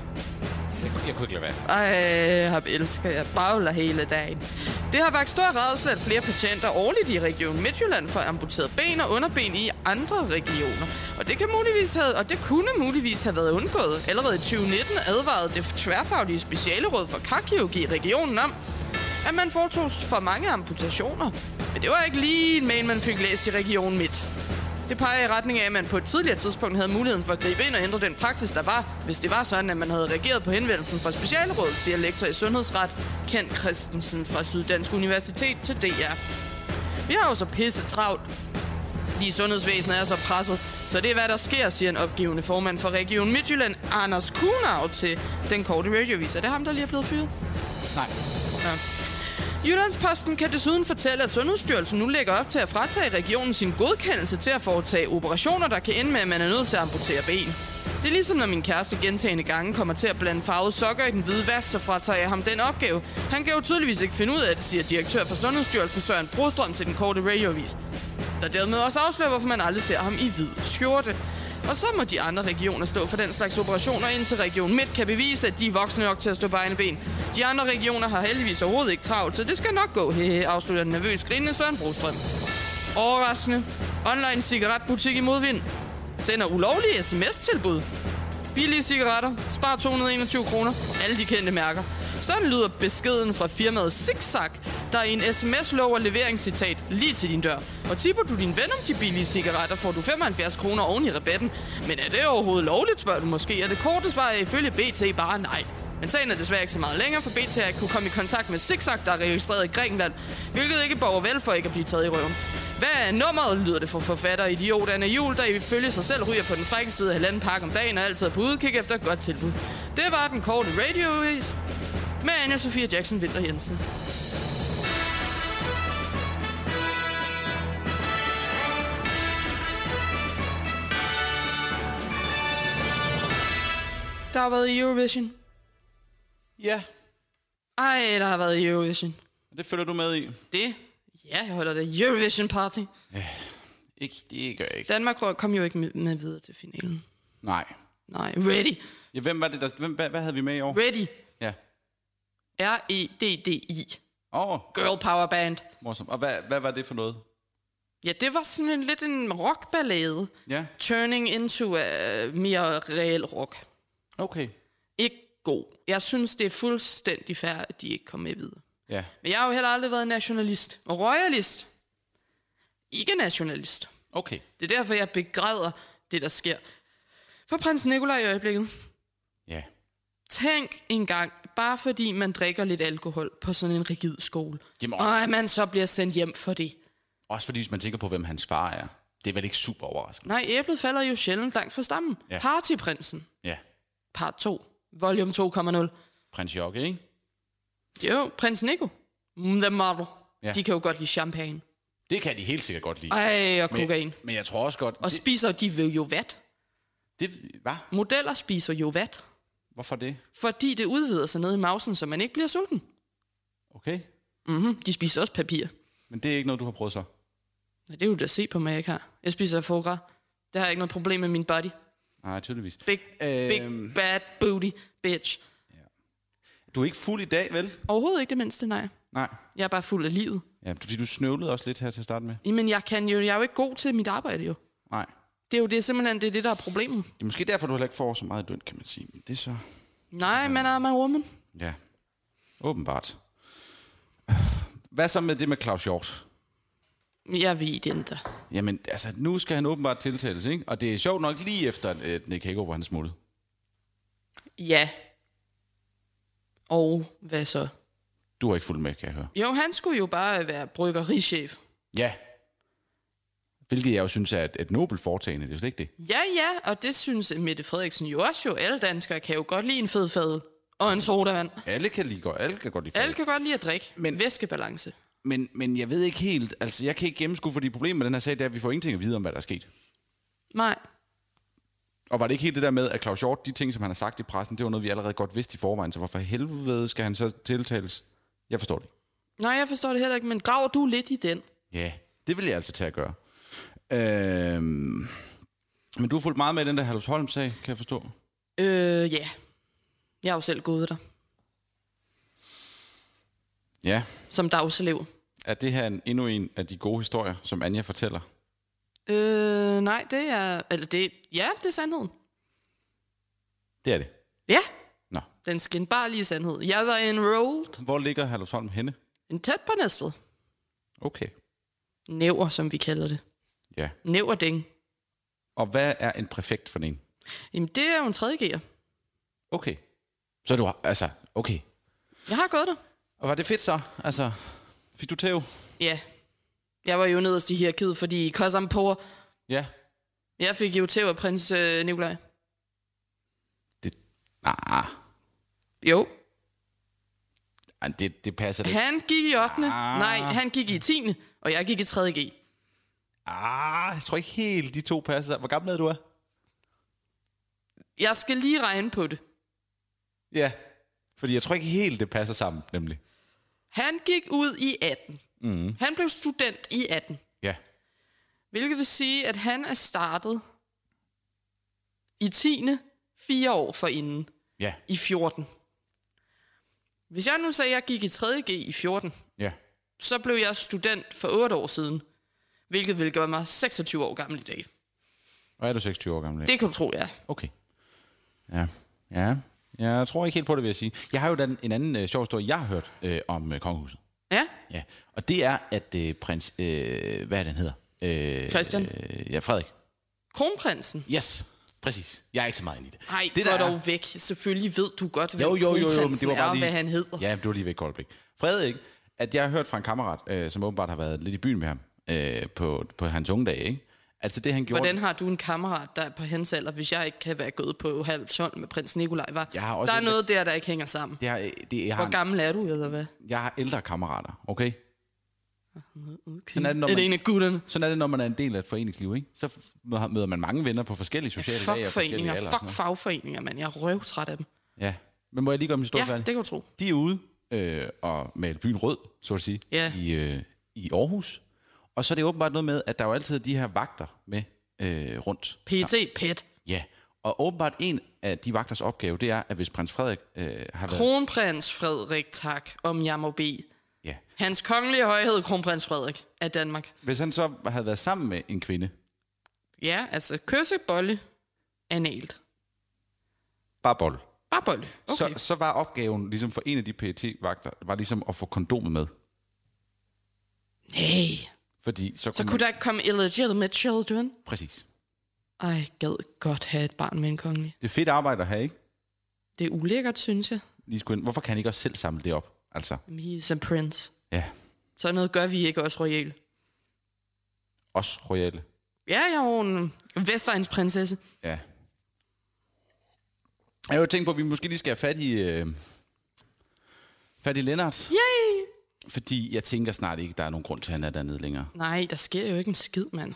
S5: Jeg, jeg kunne ikke lade være.
S3: Ej, jeg elsker, jeg bagler hele dagen. Det har vagt stor redsel, at flere patienter årligt i Region Midtjylland får amputeret ben og underben i andre regioner. Og det, kan muligvis have, og det kunne muligvis have været undgået. Allerede i 2019 advarede det tværfaglige specialeråd for karkirurgi i regionen om, at man foretog for mange amputationer. Men det var ikke lige en mail, man fik læst i Region Midt. Det peger i retning af, at man på et tidligere tidspunkt havde muligheden for at gribe ind og ændre den praksis, der var, hvis det var sådan, at man havde reageret på henvendelsen fra Specialrådet, siger lektor i sundhedsret Kent Christensen fra Syddansk Universitet til DR. Vi har jo så pisse travlt. Lige sundhedsvæsenet er så presset, så det er hvad der sker, siger en opgivende formand for Region Midtjylland, Anders Kuhnau, til den korte radiovis. Er det ham, der lige er blevet fyret?
S5: Nej.
S3: Jyllandsposten kan desuden fortælle, at Sundhedsstyrelsen nu lægger op til at fratage regionen sin godkendelse til at foretage operationer, der kan ende med, at man er nødt til at amputere ben. Det er ligesom, når min kæreste gentagende gange kommer til at blande farvede sokker i den hvide vask, så fratager jeg ham den opgave. Han kan jo tydeligvis ikke finde ud af det, siger direktør for Sundhedsstyrelsen Søren Brostrøm til den korte radioavis. Der dermed også afslører, hvorfor man aldrig ser ham i hvid skjorte. Og så må de andre regioner stå for den slags operationer, indtil Region Midt kan bevise, at de er voksne nok til at stå på egne ben. De andre regioner har heldigvis overhovedet ikke travlt, så det skal nok gå, hehe, afslutter den nervøs grinende Søren Brostrøm. Overraskende. Online cigaretbutik i modvind. Sender ulovlige sms-tilbud. Billige cigaretter. Spar 221 kroner. Alle de kendte mærker. Sådan lyder beskeden fra firmaet Zigzag, der i en sms lover leveringscitat lige til din dør. Og tipper du din ven om de billige cigaretter, får du 75 kroner oven i rabatten. Men er det overhovedet lovligt, spørger du måske? Og det korte svar er ifølge BT bare nej. Men sagen er desværre ikke så meget længere, for BT har ikke kunne komme i kontakt med Zigzag, der er registreret i Grækenland, hvilket ikke borger vel for ikke at blive taget i røven. Hvad er nummeret, lyder det fra forfatter idiot Anna Jul, der ifølge sig selv ryger på den frække side af halvanden pakke om dagen og altid er på udkig efter et godt tilbud. Det var den korte radiovis med Anna Sofia Jackson Vinter Jensen. Der har været Eurovision.
S5: Ja,
S3: Ej, der har været Eurovision.
S5: det følger du med i.
S3: Det? Ja, jeg holder det. Eurovision Party.
S5: Ikke, det gør jeg ikke.
S3: Danmark kom jo ikke med- med videre til finalen.
S5: Nej.
S3: Nej, ready.
S5: Ja, hvem var det, der, hvem, hvad, hvad havde vi med i år?
S3: Ready. E
S5: Ja.
S3: R-E-D-D-I.
S5: Åh, oh,
S3: Girl Power Band.
S5: morsomt. Og hvad, hvad var det for noget?
S3: Ja, det var sådan en, lidt en rockballade.
S5: Ja,
S3: Turning into uh, mere reel rock.
S5: okay.
S3: Ikke god. Jeg synes, det er fuldstændig fair, at de ikke kom med videre.
S5: Ja,
S3: Men jeg har jo heller aldrig været nationalist. Og royalist. Ikke nationalist.
S5: okay.
S3: Det er derfor, jeg begræder det, der sker. For prins Nikolaj i øjeblikket.
S5: Ja.
S3: Tænk engang, bare fordi man drikker lidt alkohol på sådan en rigid skole.
S5: Jamen også-
S3: Og at man så bliver sendt hjem for det.
S5: Også fordi, hvis man tænker på, hvem hans far er.
S1: Det er vel ikke super overraskende?
S3: Nej, æblet falder jo sjældent langt fra stammen. Ja. Partyprinsen,
S1: Ja.
S3: part 2, volume 2,0.
S1: Prins Jokke, ikke?
S3: Jo, prins Nico, Mm, the model.
S1: Ja.
S3: Ja. De kan jo godt lide champagne.
S1: Det kan de helt sikkert godt lide.
S3: Ej, og kokain.
S1: Men, men jeg tror også godt...
S3: Og
S1: det,
S3: spiser de vil jo vat.
S1: det, hvad?
S3: Modeller spiser jo vat,
S1: Hvorfor det?
S3: fordi det udvider sig ned i mausen, så man ikke bliver sulten.
S1: Okay.
S3: Mm-hmm. De spiser også papir.
S1: Men det er ikke noget, du har prøvet så?
S3: Ja, det er jo da se på mig, jeg ikke har. Jeg spiser foie gras. Det har jeg ikke noget problem med min body.
S1: Nej, tydeligvis.
S3: Big, øhm...
S1: Øhm.
S3: big bad booty bitch.
S1: Du er ikke fuld i dag, vel?
S3: Overhovedet ikke det mindste, nej.
S1: Nej.
S3: Jeg er bare fuld af livet.
S1: Ja, fordi du snøvlede også lidt her til at starte med.
S3: Men jeg, kan jo, jeg er jo ikke god til mit arbejde, jo.
S1: Nej.
S3: Det er jo det, simpelthen det, er det der er problemet.
S1: Det er måske derfor, du heller ikke får så meget i løn, kan man sige. Men det er så...
S3: Nej, man er man woman.
S1: Ja. Åbenbart. Hvad så med det med Claus Hjort?
S3: Jeg ved ikke.
S1: Jamen, altså, nu skal han åbenbart tiltales, ikke? Og det er sjovt nok lige efter, at øh, Nick Hagerup han er smuttet.
S3: Ja. Og hvad så?
S1: Du har ikke fulgt med, kan jeg høre.
S3: Jo, han skulle jo bare være bryggerichef.
S1: Ja. Hvilket jeg jo synes er et, et nobelt foretagende, det er jo slet ikke det.
S3: Ja, ja, og det synes Mette Frederiksen jo også jo. Alle danskere kan jo godt lide en fed fadel og en sodavand.
S1: Alle kan lige godt, alle kan godt lide
S3: Alle
S1: alle.
S3: kan godt lide at drikke.
S1: Men-
S3: Men... Væskebalance.
S1: Men, men jeg ved ikke helt, altså jeg kan ikke gennemskue, fordi problemet med den her sag, det er, at vi får ingenting at vide om, hvad der er sket.
S3: Nej.
S1: Og var det ikke helt det der med, at Claus Hjort, de ting, som han har sagt i pressen, det var noget, vi allerede godt vidste i forvejen, så hvorfor helvede skal han så tiltales? Jeg forstår det ikke.
S3: Nej, jeg forstår det heller ikke, men graver du lidt i den?
S1: Ja, det vil jeg altså tage at gøre. Øhm, men du har fulgt meget med i den der Halvs Holm-sag, kan jeg forstå.
S3: Øh, ja. Jeg er jo selv gået der.
S1: Ja,
S3: Som dagselev.
S1: er det her en, endnu en af de gode historier, som Anja fortæller?
S3: Øh, nej, det er... Eller det... Ja, det er sandheden.
S1: Det er det.
S3: Ja,
S1: Nå,
S3: den skinbarlige sandhed. Jeg var enrolled.
S1: hvor ligger Halvs Holm henne?
S3: En tæt på næstved.
S1: Okay,
S3: Næver, som vi kalder det.
S1: ja.
S3: Næverding.
S1: Og hvad er en præfekt for en?
S3: Jamen, det er jo en 3G'er.
S1: Okay. Så du har, altså, okay.
S3: Jeg har gået der.
S1: Og var det fedt så? Altså, fik du tæv?
S3: Ja. Jeg var jo nederst i hierarkiet, fordi cause I'm poor.
S1: Ja.
S3: Jeg fik jo tæv af prins øh, Nikolaj.
S1: Det, ah,
S3: Jo.
S1: Ej, det, det passer lidt.
S3: Han gik i 8. Ah. Nej, han gik i 10. Og jeg gik i 3G.
S1: Ah, jeg tror ikke helt, de to passer. Hvor gammel er du er?
S3: Jeg skal lige regne på det.
S1: Ja, fordi jeg tror ikke helt, det passer sammen, nemlig.
S3: Han gik ud i 18.
S1: Mm-hmm.
S3: Mm. Han blev student i 18.
S1: Ja.
S3: Hvilket vil sige, at han er startet i 10. fire år forinden.
S1: Ja.
S3: I 14. Hvis jeg nu sagde, at jeg gik i 3.G i 14,
S1: Ja.
S3: så blev jeg student for 8 år siden. Hvilket ville gøre mig 26 år gammel i dag.
S1: Og er du 26 år gammel?
S3: Det kan du tro, jeg er.
S1: Okay. Ja. Ja. Jeg tror ikke helt på det, vil jeg sige. Jeg har jo den, en anden øh, sjov historie, jeg har hørt øh, om øh, kongehuset.
S3: Ja,
S1: Ja. Og det er, at øh, prins... Øh, hvad er den hedder? Øh,
S3: Christian.
S1: Øh, ja, Frederik.
S3: kronprinsen.
S1: Yes, præcis. Jeg er ikke så meget inde i det.
S3: Nej,
S1: det
S3: det går dog væk. Selvfølgelig ved du godt, hvem
S1: Jo, jo, jo, jo, men det
S3: kronprinsen
S1: var
S3: er,
S1: bare
S3: og
S1: lige...
S3: hvad han hedder.
S1: Ja, men det var lige væk et kort blik. Frederik, at jeg har hørt fra en kammerat, øh, som åbenbart har været lidt i byen med ham, øh, på, på hans unge dage, ikke? Altså det, han gjorde...
S3: Hvordan har du en kammerat, der er på hans alder, hvis jeg ikke kan være gået på halv 12 med prins Nikolaj? Var?
S1: Jeg har også
S3: der er
S1: en-
S3: noget der, der ikke hænger sammen.
S1: Det har, øh, det, jeg, har
S3: Hvor
S1: en,
S3: gammel er du, eller hvad?
S1: jeg har ældre kammerater, okay?
S3: Okay.
S1: Sådan er det, når
S3: det
S1: man-
S3: en af gutterne.
S1: Sådan er det, når man er en del af et foreningsliv, ikke? Så f- møder- møder man mange venner på forskellige sociale lag
S3: Fuck
S1: og forskellige
S3: foreninger,
S1: alder. og
S3: fuck
S1: sådan
S3: fagforeninger, mand. Jeg er røvtræt af dem.
S1: noget. Ja. Men må jeg lige gøre min historie
S3: Ja, det
S1: færdig?
S3: kan du tro.
S1: De er ude øh, og male byen rød, så at sige,
S3: Ja.
S1: i, øh, i Aarhus. Og så er det åbenbart noget med, at der er jo altid de her vagter med øh, rundt.
S3: PT, pet.
S1: Ja, og åbenbart en af de vagters opgave, det er, at hvis prins Frederik øh, har været...
S3: Kronprins Frederik, tak, om jeg må bede.
S1: Ja,
S3: Hans kongelige højhed, kronprins Frederik af Danmark.
S1: hvis han så havde været sammen med en kvinde,
S3: Ja, altså kyssebolle, analt.
S1: bare bold,
S3: Bare bolle.
S1: okay. så,
S3: Okay. Så...
S1: så var opgaven ligesom for en af de pet vagter var ligesom at få kondomet med.
S3: Hey.
S1: Fordi så,
S3: Så kunne der ikke komme illegitimate children?
S1: Præcis.
S3: Ej, gad godt have et barn med en kongelig.
S1: Det er fedt arbejde at have, ikke?
S3: Det er ulækkert, synes jeg.
S1: Lige skulle ind. Hvorfor kan han ikke også selv samle det op? Altså,
S3: Jamen, he's a prince.
S1: ja,
S3: Sådan noget gør vi ikke også royale.
S1: os royale.
S3: Ja, jeg er jo en Vestegns prinsesse.
S1: Ja. Jeg har jo tænkt på, at vi måske lige skal have fat i... Øh, fat i Lennart.
S3: Yay!
S1: Fordi jeg tænker snart ikke, der er nogen grund til, at han er dernede længere.
S3: Nej, der sker jo ikke en skid, mand.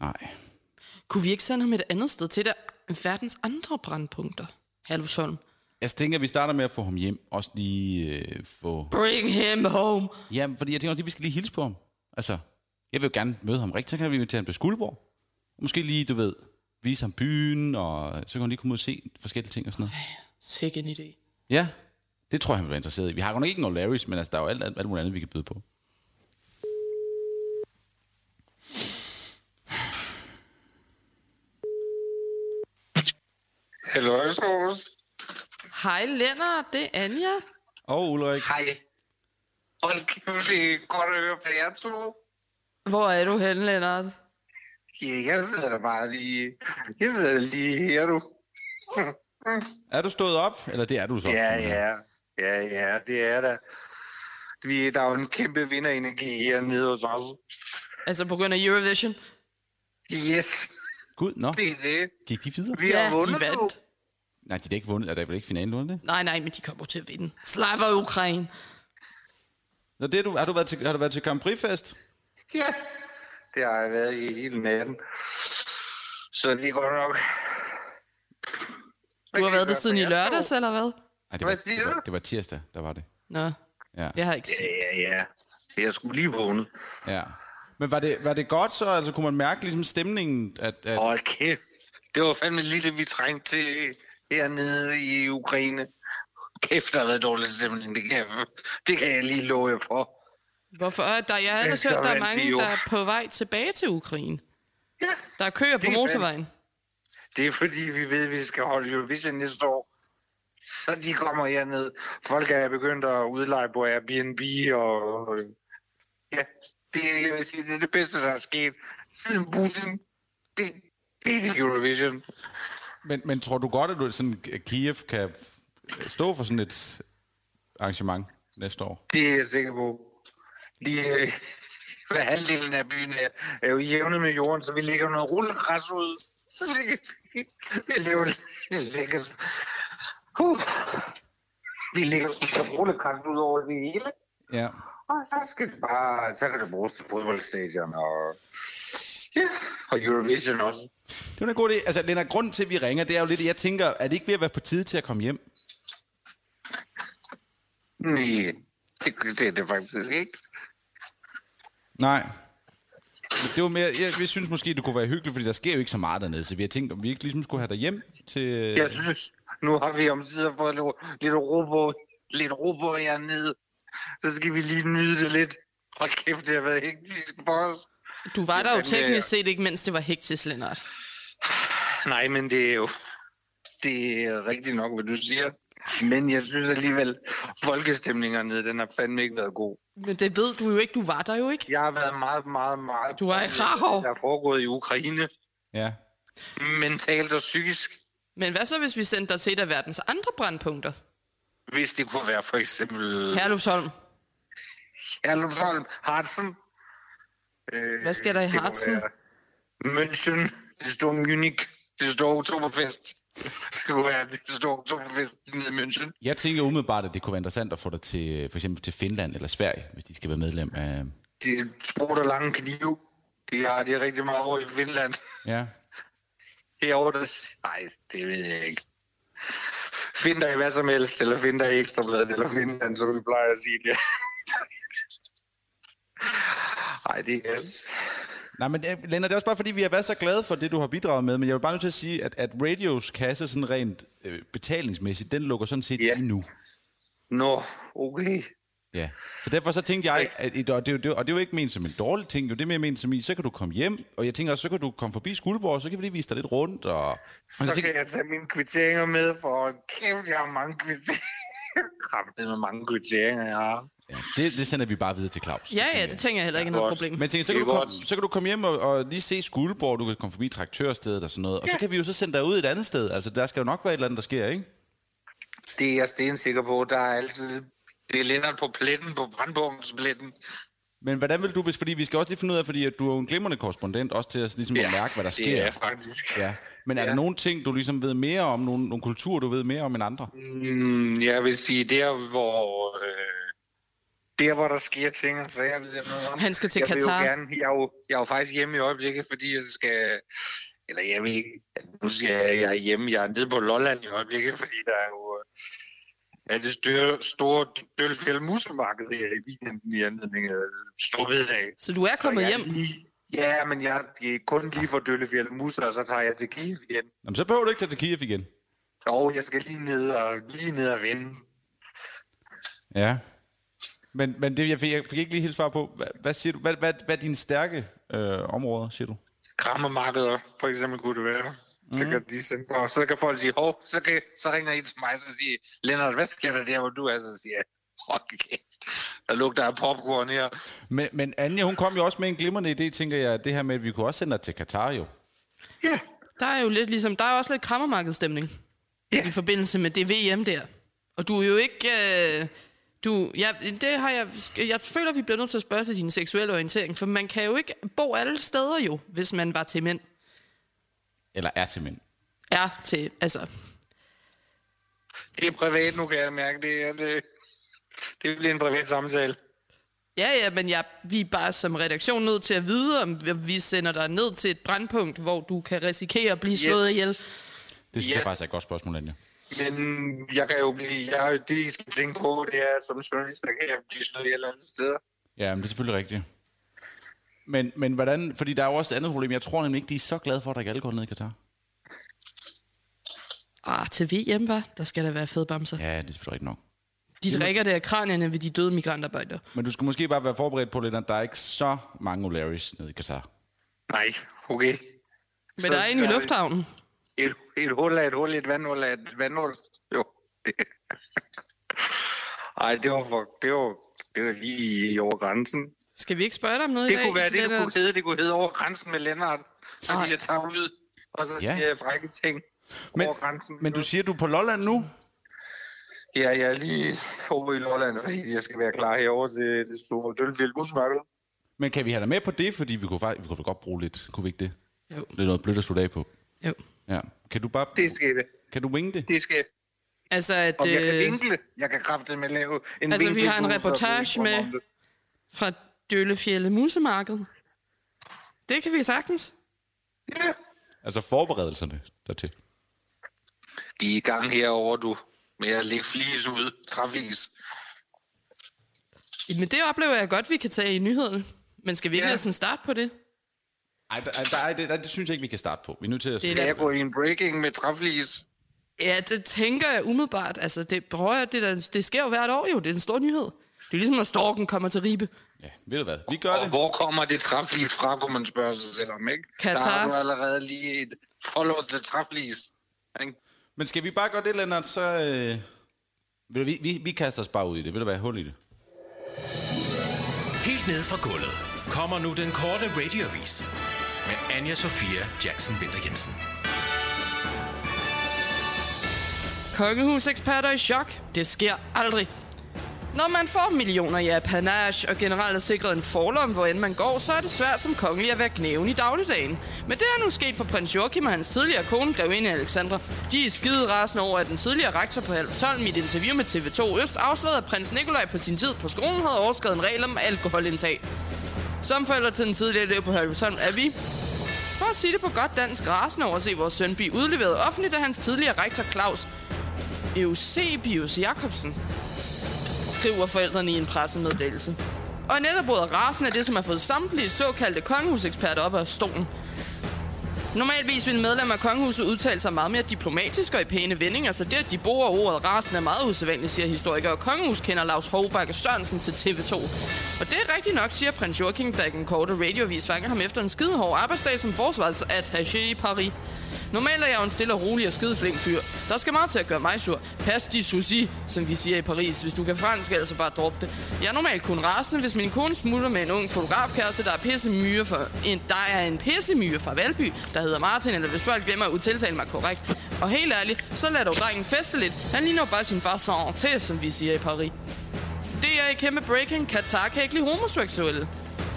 S1: Nej.
S3: Kunne vi ikke sende ham et andet sted til der verdens andre brandpunkter? Halvsholm.
S1: Jeg tænker, at vi starter med at få ham hjem. Også lige øh, få...
S3: Bring him home.
S1: Ja, fordi jeg tænker også, at vi skal lige hilse på ham. Altså, jeg vil jo gerne møde ham rigtigt. Så kan vi invitere ham til Skuldborg. Måske lige, du ved, vise ham byen, og så kan han lige komme ud og se forskellige ting og sådan noget.
S3: Sikke en idé.
S1: Ja, det tror jeg, han vil være interesseret i. Vi har godt nok ikke nogen Larrys, men altså, der er jo alt, alt, alt muligt andet, vi kan byde på.
S6: Hallo, Troels.
S3: Hej, Lennart. Det er Anja.
S1: Og oh, Ulrik.
S7: Hej. Hold kæft, det er godt at høre fra jer to.
S3: Hvor er du henne, Lennart?
S7: Ja, jeg sidder bare lige... Jeg sidder lige her, du.
S1: Er du stået op? Eller det er du så?
S7: Ja, ja. Ja, ja, det er der. Vi, der er jo en kæmpe vinderenergi hernede hos os.
S3: Altså på grund af Eurovision.
S7: Yes,
S1: Gud, nå.
S7: det er det.
S1: Gik de videre?
S7: Vi har vundet
S3: de
S7: nu.
S3: vandt.
S1: Nej, de er da ikke vundet. Er der vel ikke finalen, vundet det?
S3: Nej, nej, men de kommer til at vinde. Slava Ukraine.
S1: Nå, det er du, har, du været til, har du været til Grand Prix-fest?
S7: Ja, det har jeg været i hele natten. Så det er godt nok.
S3: Du har været der siden i lørdags, eller hvad?
S1: Nej, det
S7: Hvad
S1: var,
S7: siger
S1: det var,
S7: du?
S1: det var tirsdag, der var det.
S3: Nå,
S1: Ja.
S3: jeg har ikke set.
S7: Ja, ja, ja. Jeg skulle lige vågne.
S1: ja. Men var det, var det godt så? Altså, kunne man mærke ligesom stemningen? At, at,
S7: Hold kæft. Det var fandme lige det, vi trængte til hernede i Ukraine. Kæft, der har været dårlig stemning. Det kan jeg, det kan jeg lige love jer for.
S3: Hvorfor? Og Der, jeg har ellers
S7: Ja,
S3: hørt,
S7: så
S3: der er
S7: vandt vi
S3: mange,
S7: jo.
S3: der er på vej tilbage til Ukraine.
S7: Ja,
S3: Der er køer på
S7: er
S3: motorvejen.
S7: det er fordi, vi ved, at vi skal holde Eurovision næste år. Så de kommer herned. Folk er begyndt at udleje på Airbnb, og ja, det, jeg vil sige, det er det bedste, der er sket siden Putin. Det, det er Eurovision.
S1: men, men tror du godt, at du sådan, at Kiev kan stå for sådan et arrangement næste år?
S7: Det er jeg sikker på. De, øh, hvad halvdelen af byen er, er jo jævne med jorden, så vi lægger noget rullegræs ud. Så ligger vi, vi laver vi lægger, uh, vi lægger sådan noget rullegræs ud over det hele.
S1: Ja.
S7: Og så skal det bare, så kan det bruges til fodboldstadion og, ja, og Eurovision også.
S1: Det var en god idé. Altså, Lennart, grunden til, at vi ringer, det er jo lidt, jeg tænker, er det ikke ved at være på tide til at komme hjem?
S7: Nej, det, det er det faktisk ikke.
S1: Nej. Men Det var mere, jeg, jeg synes måske, det kunne være hyggeligt, fordi der sker jo ikke så meget dernede, så vi har tænkt, om vi ikke ligesom skulle have dig hjem til...
S7: Jeg synes, nu har vi omsider fået lidt, lidt ro på, lidt ro på hernede. Så skal vi lige nyde det lidt. Hold kæft, det har været hektisk for os.
S3: Du var der jo
S7: fandme,
S3: teknisk
S7: ja.
S3: set ikke, mens det var hektisk, Lennart.
S7: Nej, men det er jo... Det er rigtigt nok, hvad du siger. Men jeg synes alligevel, folkestemningen nede, den har fandme ikke været god.
S3: Men det ved du jo ikke. Du var der jo ikke.
S7: Jeg har været meget, meget, meget...
S3: Du er i Krakow.
S7: Der er foregået i Ukraine,
S1: Ja.
S7: mentalt og psykisk.
S3: Men hvad så, hvis vi sendte dig til et af verdens andre brandpunkter?
S7: Hvis det kunne være for eksempel...
S3: Herlufsholm.
S7: Herlufsholm, Harzen. Øh,
S3: Hvad sker der i
S7: det må
S3: Harzen?
S7: være München, det står Munich, det står Oktoberfest. Det kunne være, det står Oktoberfest nede i München.
S1: Jeg tænker umiddelbart, at det kunne være interessant at få dig til, for eksempel til Finland eller Sverige, hvis de skal være medlem af...
S7: Det er sport og lange knive. Det har de rigtig meget over i Finland.
S1: Ja.
S7: Herovre, der... Nej, det ved jeg ikke. Find dig i hvad som helst, eller find dig i Ekstrabladet, eller Finland, som vi plejer at sige det. Nej, det er...
S1: Nej, men øh, Lennart, det er også bare fordi, vi har været så glade for det, du har bidraget med, men jeg vil bare nødt til at sige, at, at radios kasse sådan rent øh, betalingsmæssigt, den lukker sådan set
S7: Ja.
S1: yeah. i nu.
S7: Nå, okay.
S1: Ja. Så derfor så tænkte jeg, at, at, og, det, er jo- det, er jo- og det er jo ikke ment som en dårlig ting, jo, det er mere ment som i, så kan du komme hjem, og jeg tænker også, så kan du komme forbi Skuldborg, så kan vi lige vise dig lidt rundt, og... og
S7: Så
S1: tænker,
S7: kan jeg tage mine kvitteringer med, for kæft, jeg har mange kvitteringer. Kraft, med mange kvitteringer, jeg har.
S1: ja, det, det sender vi bare videre til Claus.
S3: Ja,
S1: tænker
S3: ja,
S1: jeg.
S3: det tænker jeg heller ikke er noget
S7: godt.
S3: problem.
S1: Men jeg tænker, så kan,
S7: Det
S1: du
S7: er
S1: komme,
S7: godt.
S1: så kan du komme hjem og, og lige se Skuldborg, du kan komme forbi traktørstedet og sådan noget, og så kan vi jo så sende dig ud et andet sted. Altså, der skal jo nok være et eller andet, der sker, ikke?
S7: Det er jeg stensikker på. Der er altid... Det er Lennart på pletten, på Brandbogens pletten.
S1: Men hvordan vil du, hvis, fordi vi skal også lige finde ud af, fordi at du er jo en glimrende korrespondent, også til at, ligesom at mærke, hvad der sker.
S7: Det er jeg faktisk.
S1: Ja. Men er ja. der nogle ting, du ligesom ved mere om, nogle, nogle kulturer, du ved mere om end andre?
S7: Mm, jeg vil sige, der hvor... Øh, der hvor der sker ting og sager, hvis jeg noget om.
S3: Han skal til
S7: jeg vil
S3: Katar.
S7: Jo gerne, jeg, er jo, jeg er jo faktisk hjemme i øjeblikket, fordi jeg skal... Eller jeg ved ikke... Nu siger jeg, at jeg er hjemme. Jeg er nede på Lolland i øjeblikket, fordi der er jo... øh, Ja, det større, store Dølfjell Musemarked her i weekenden i anledning af Storbededag.
S3: Så du er kommet
S7: Så jeg
S3: hjem.
S7: er Lige, ja, men jeg er kun lige for Døllefjell Musse, og så tager jeg til Kiev igen.
S1: Jamen, så behøver du ikke tage til Kiev igen.
S7: Og jeg skal lige ned og, lige ned og vende.
S1: Ja. Men, men det, jeg, fik, jeg fik ikke lige helt svar på, hvad, hvad siger du? Hvad, hvad, hvad er dine stærke øh, områder, siger du?
S7: Krammermarkeder, for eksempel, kunne det være. Så
S3: Mhm.
S7: kan, de sende, og så kan folk sige, hov, så, kan, så ringer I til mig, og så siger Lennart, hvad sker der der, hvor du er? Så siger jeg, hold kæft, der lugter af popcorn her.
S1: Men, men Anja, hun kom jo også med en glimrende idé, tænker jeg, det her med, at vi kunne også sende dig til Katar jo.
S7: Ja,
S3: Der er jo lidt ligesom, der er også lidt krammermarkedsstemning
S7: Ja.
S3: i forbindelse med det VM der. Og du er jo ikke... Øh, du, ja, det har jeg, jeg føler, vi bliver nødt til at spørge til din seksuelle orientering, for man kan jo ikke bo alle steder jo, hvis man var til mænd.
S1: Eller er til mænd.
S3: Er til, altså...
S7: det er privat nu, kan jeg mærke. Det, er, det, det bliver en privat samtale.
S3: Ja, ja, men jeg, vi er bare som redaktion nødt til at vide, om vi sender dig ned til et brandpunkt, hvor du kan risikere at blive slået yes. ihjel.
S1: Det synes
S7: Ja.
S1: jeg faktisk er et godt spørgsmål, Anja.
S7: Men jeg kan jo blive... Jeg, det, I skal tænke på, det er, at som journalist, der kan jeg blive slået ihjel andet sted.
S1: Ja, men det er selvfølgelig rigtigt. Men, men hvordan, fordi der er jo også et andet problem. Jeg tror nemlig ikke, de er så glade for, at der ikke alle går ned i Katar.
S3: Ah, til VM, var Der skal der være fedbamser. Ja.
S1: Ja, det er selvfølgelig rigtigt nok.
S3: De drikker det af kranierne ved de døde migrantarbejdere.
S1: Men du skal måske bare være forberedt på lidt, at der er ikke så mange O'Larrys nede i Katar.
S7: Nej, okay.
S3: Men der er en i lufthavnen.
S7: Et, et hul af et hul, et vandhul af et vandhul. Jo. Det. Ej, det var, for, det, var, det var lige over grænsen.
S3: Skal vi ikke spørge dig om noget
S7: Det
S3: i dag?
S7: kunne være, det, det kunne
S3: Lennart?
S7: hedde, det kunne hedde over grænsen med Lennart. Fordi
S3: Ej.
S7: jeg tager ud, og så
S1: Ja.
S7: siger jeg frække ting
S1: Men,
S7: over grænsen.
S1: men du siger, du er på Lolland nu?
S7: Ja, jeg er lige over i Lolland, fordi jeg skal være klar herover til det store Dølvild Busmarked.
S1: Men kan vi have dig med på det? Fordi vi kunne, fakt- vi kunne godt bruge lidt, kunne vi ikke det?
S3: Jo.
S1: Det er noget blødt at slutte af på.
S3: Jo.
S1: Ja. Kan du bare...
S7: Det skal det.
S1: Kan du winge det?
S7: Det skal
S3: Altså, at,
S7: Om jeg kan
S3: øh,
S7: vinkle. Jeg kan kraftigt med lave en
S3: Altså, vi
S7: vinkel
S3: har en
S7: ud, så
S3: reportage
S7: ved jeg ikke,
S3: med-
S7: om det.
S3: fra Døllefjælde Musemarked. Det kan vi sagtens.
S7: Ja.
S1: Altså forberedelserne dertil.
S7: De er i gang herover du med at lægge flis ud, travis.
S3: Men det oplever jeg godt, vi kan tage i nyhederne. Men skal vi ikke
S7: Ja.
S3: ja. næsten starte på det?
S1: Ej, der, der, der, det, der, det synes jeg ikke, vi kan starte på. Vi er nødt til at...
S3: Det er
S7: Kan jeg gå i en breaking med travis?
S3: Ja, det tænker jeg umiddelbart. Altså, det, prøver jeg, det, der, det sker jo hvert år jo. Det er en stor nyhed. Det er ligesom, når storken kommer til Ribe.
S1: Ja, ved du hvad? Vi gør
S7: Og
S1: det.
S7: hvor kommer det travis fra, kunne man spørge sig selv om, ikke? Der
S3: Katar.
S7: har du allerede lige et follow the travis. ikke?
S1: Men skal vi bare gøre det, Lennart, så... Øh... Ved du, vi, vi, vi kaster os bare ud i det. Vil du være hul i det?
S4: Helt ned fra gulvet kommer nu den korte radiovis med Anja Sofia Jackson Vinter Jensen.
S3: Kongehuseksperter i chok. Det sker aldrig. Når man får millioner i apanage og generelt er sikret en forlom, hvor end man går, så er det svært som kongelig at være knæven i dagligdagen. Men det er nu sket for prins Joachim og hans tidligere kone, grevinde Alexandra. De er skide rasende over, at den tidligere rektor på Halvsholm i et interview med TV2 Øst afslørede, at prins Nikolaj på sin tid på skolen havde overskrevet en regel om alkoholindtag. Som forældre til den tidligere elev på Halvsholm er vi for at sige det på godt dansk rasende over at se vores søn blive udleveret offentligt af hans tidligere rektor Claus Eusebius Jacobsen, skriver forældrene i en pressemeddelelse. Og netop ordet rasen er det, som har fået samtlige såkaldte kongehuseksperter op af stolen. Normalvis vil medlemmer af kongehuset udtale sig meget mere diplomatisk og i pæne vendinger, så det, at de bruger ordet rasen er meget usædvanligt, siger historiker og kongehuskender Lars Hovbakke Sørensen til TV2. Og det er rigtigt nok, siger prins Joachim, da den korte radiovis fanger ham efter en skidehård arbejdsdag som forsvarsattaché i Paris. Normalt er jeg jo en stille og rolig og skideflink fyr. Der skal meget til at gøre mig sur. Pas de souci, som vi siger i Paris. Hvis du kan fransk, altså bare drop det. Jeg er normalt kun rasende, hvis min kone smutter med en ung fotografkæreste, der er pisse myre for... En, der er en pisse myre fra Valby, der hedder Martin, eller hvis folk glemmer at udtiltale mig korrekt. Og helt ærligt, så lad dog drengen feste lidt. Han ligner jo bare sin far sans til, som vi siger i Paris. Det er i kæmpe breaking. Katar kan ikke lide homoseksuelle.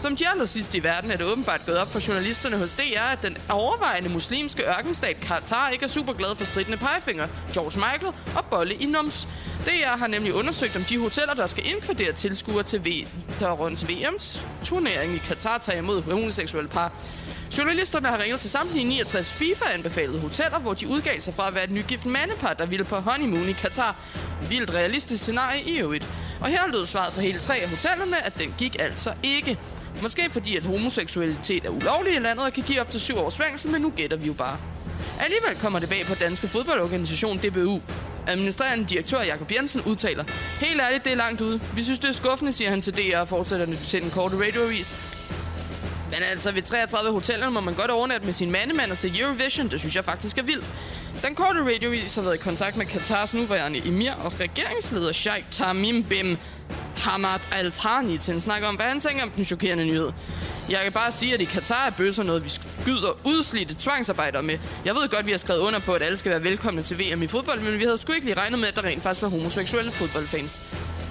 S3: Som de allersidste i verden er det åbenbart gået op for journalisterne hos DR, at den overvejende muslimske ørkenstat Katar ikke er super glad for stridende pegefinger, George Michael og bolle i nums. DR har nemlig undersøgt, om de hoteller, der skal inkvidere tilskuere til vinterens VM's turnering i Katar, tager imod homoseksuelle par. Journalisterne har ringet til samtlige 69 FIFA-anbefalede hoteller, hvor de udgav sig fra at være et nygift mandepar, der ville på honeymoon i Katar. Vildt realistisk scenarie i øvrigt. Og her lød svaret fra hele tre af hotellerne, at den gik altså ikke. Måske fordi, at homoseksualitet er ulovlig i landet og kan give op til syv års fængsel, men nu gætter vi jo bare. Alligevel kommer det bag på danske fodboldorganisation DBU. Administrerende direktør Jakob Jensen udtaler, Helt ærligt, det er langt ude. Vi synes, det er skuffende, siger han til DR og fortsætter til den korte radioavis. Men altså, ved 33 hoteller må man godt overnatte med sin mandemand og se Eurovision. Det synes jeg faktisk er vildt. Den korte radiovis har været i kontakt med Katars nuværende emir og regeringsleder Sheikh Tamim Bim Hamad Al Thani til en snak om, hvad han tænker om den chokerende nyhed. Jeg kan bare sige, at i Katar er bøsser noget, vi skyder udslidte tvangsarbejdere med. Jeg ved godt, vi har skrevet under på, at alle skal være velkomne til VM i fodbold, men vi havde sgu ikke lige regnet med, at der rent faktisk var homoseksuelle fodboldfans.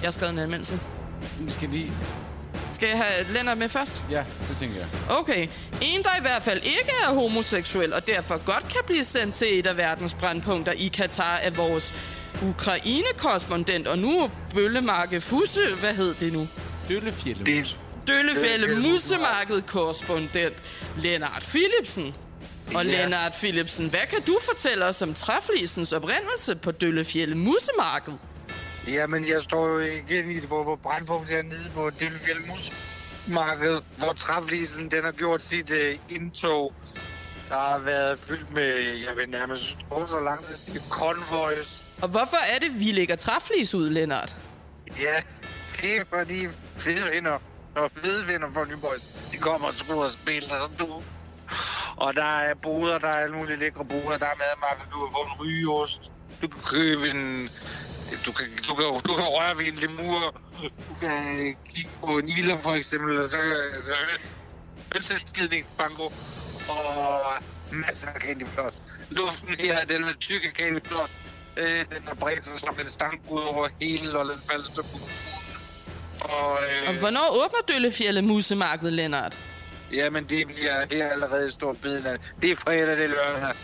S3: Jeg har skrevet en anmeldelse.
S1: Vi skal lige...
S3: Skal jeg have Lennart med først?
S1: Ja, det tænker jeg.
S3: Okay. En, der i hvert fald ikke er homoseksuel, og derfor godt kan blive sendt til et af verdens brandpunkter i Katar, er vores Ukraine-korrespondent, og nu Bøllemarke Fusse, hvad hed det nu?
S1: Døllefjælde.
S7: Det,
S3: Døllefælde Musemarked-korrespondent Lennart Philipsen. Og
S7: Ja.
S3: Lennart Philipsen, hvad kan du fortælle os om træflisens oprindelse på Døllefjælde Musemarked?
S7: jamen, jeg står jo igen i det, hvor, hvor brandpunkt er nede på Dillefjell Musmarked, hvor træflisen den har gjort sit uh, indtog. Der har været fyldt med, jeg vil nærmest gå så langt at sige, konvojs.
S3: Og hvorfor er det, vi lægger træflis ud, Lennart?
S7: Ja, det er fordi fede vinder, og fede vinder for Nyborgs, de kommer og skruer og spiller, som du. Og der er boder, der er alle mulige lækre boder, der er madmarked, du kan få en rygeost, du kan købe en... Du kan, du, kan, du kan røre ved en lemur, du kan øh, kigge på en ilder for eksempel, og så kan hønseskidningsbanko, og masser af candyfloss. Luften her, den er tyk af candyfloss. Øh, den har bredt sig som en stankud over hele Lolland Falster. Og,
S3: Og
S7: øh,
S3: hvornår åbner Døllefjælde Musemarked, Lennart?
S7: Jamen, det bliver her allerede i stor bidende. Det er fredag, det er lørdag.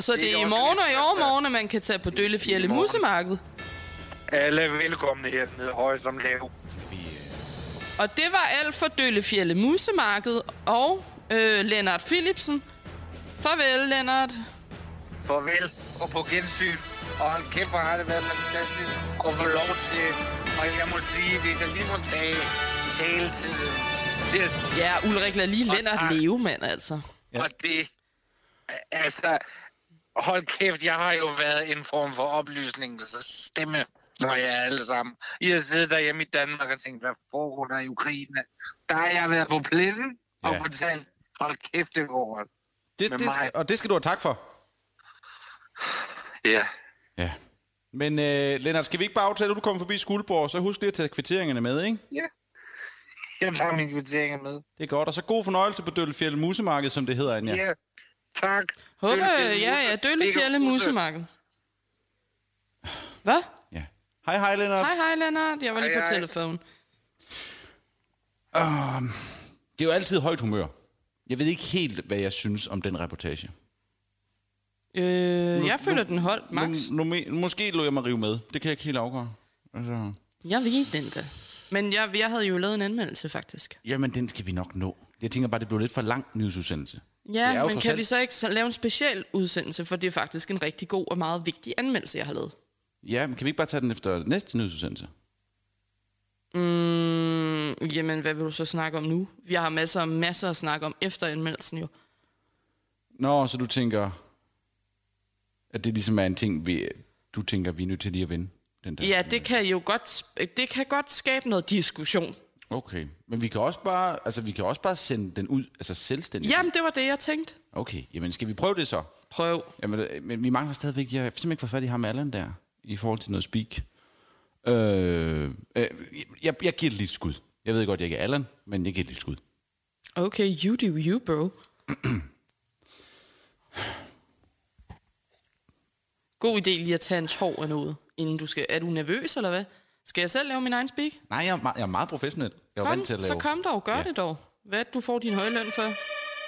S3: Så det
S7: Det er
S3: er i
S7: også
S3: morgen
S7: lidt
S3: og i
S7: svært, ja.
S3: overmorgen, at man kan tage på Døllefjælde
S7: I morgen.
S3: Musemarked.
S7: Alle er velkomne hernede, høje som lav.
S1: øh,
S3: Og det var alt for Døllefjælde Musemarked og øh, Lennart Philipsen. Farvel, Lennart.
S7: Farvel og på gensyn. Og hold kæft, hvor har det været fantastisk at få lov til. Og jeg må sige, hvis jeg lige må tage taletiden til at sige,
S3: Ja, Ulrik, lad lige
S7: Og
S3: Lennart
S7: tak.
S3: leve, mand, altså.
S7: ja. og det... Altså, hold kæft, jeg har jo været en form for oplysningsstemme for jer alle sammen. I har siddet derhjemme i Danmark og tænkt, hvad foregår der i Ukraine? Der har jeg været på pletten og
S1: Ja.
S7: fortalt, hold kæft, det går godt.
S1: Det,
S7: Med
S1: det,
S7: mig.
S1: og det skal du have tak for.
S7: Ja.
S1: Ja. Men øh, Lennart, skal vi ikke bare aftale, at du kommer forbi Skuldborg, så husk lige at tage kvitteringerne med, ikke?
S7: Ja. Jeg tager mine kvitteringer med.
S1: Det er godt. Og så god fornøjelse på Døllefjælde Musemarked, som det hedder, Anja.
S7: Ja. Tak.
S3: Håber, øh,
S7: Døllefjælde
S3: ja,
S7: Muse.
S3: ja, Døllefjælde
S7: Ikke Muse.
S3: Musemarked. Hvad?
S1: ja. Hej, hej, Lennart.
S3: Hej, hej, Lennart. Jeg var lige
S7: Hej,
S3: på
S7: hej.
S3: telefonen.
S1: Det er jo altid højt humør. Jeg ved ikke helt, hvad jeg synes om den reportage.
S3: Øh, jeg føler, den holdt, Max.
S1: Nu, nu, me- måske lå jeg mig rive med. Det kan jeg ikke helt afgøre. Altså,
S3: Jeg ved den da. Men jeg, jeg havde jo lavet en anmeldelse, faktisk.
S1: jamen, den skal vi nok nå. Jeg tænker bare, det blev lidt for lang nyhedsudsendelse. Det er
S3: Ja,
S1: jo
S3: men
S1: trods
S3: kan
S1: alt-
S3: vi så ikke så lave en speciel udsendelse, for det er faktisk en rigtig god og meget vigtig anmeldelse, jeg har lavet.
S1: Ja, men kan vi ikke bare tage den efter næste nyhedsudsendelse?
S3: Mm, Jamen, hvad vil du så snakke om nu? Vi har masser og masser at snakke om efter anmeldelsen jo.
S1: Nå, så du tænker, at det ligesom er en ting, vi, du tænker, vi er nødt til lige at vinde den der.
S3: Ja, det kan jo godt, sp- det kan godt skabe noget diskussion.
S1: Okay. Men vi kan også bare, altså, vi kan også bare sende den ud, altså selvstændigt.
S3: Jamen, det var det, jeg tænkte.
S1: Okay, jamen skal vi prøve det så?
S3: Prøv.
S1: Jamen, øh, men vi mangler stadigvæk, jeg har simpelthen ikke fået fat i ham Allan der, i forhold til noget speak. Øh, øh, jeg, jeg giver det lidt skud. Jeg ved godt, jeg ikke er Allan, men jeg giver det lidt skud.
S3: Okay, you do you, bro. God idé lige at tage en tår af noget, inden du skal... Er du nervøs, eller hvad? Skal jeg selv lave min egen speak?
S1: Nej, jeg er, meget, jeg er meget professionel. Jeg er
S3: Kom,
S1: vant til at lave.
S3: så kom dog, gør ja. det dog. Hvad er det, du får din høje løn for?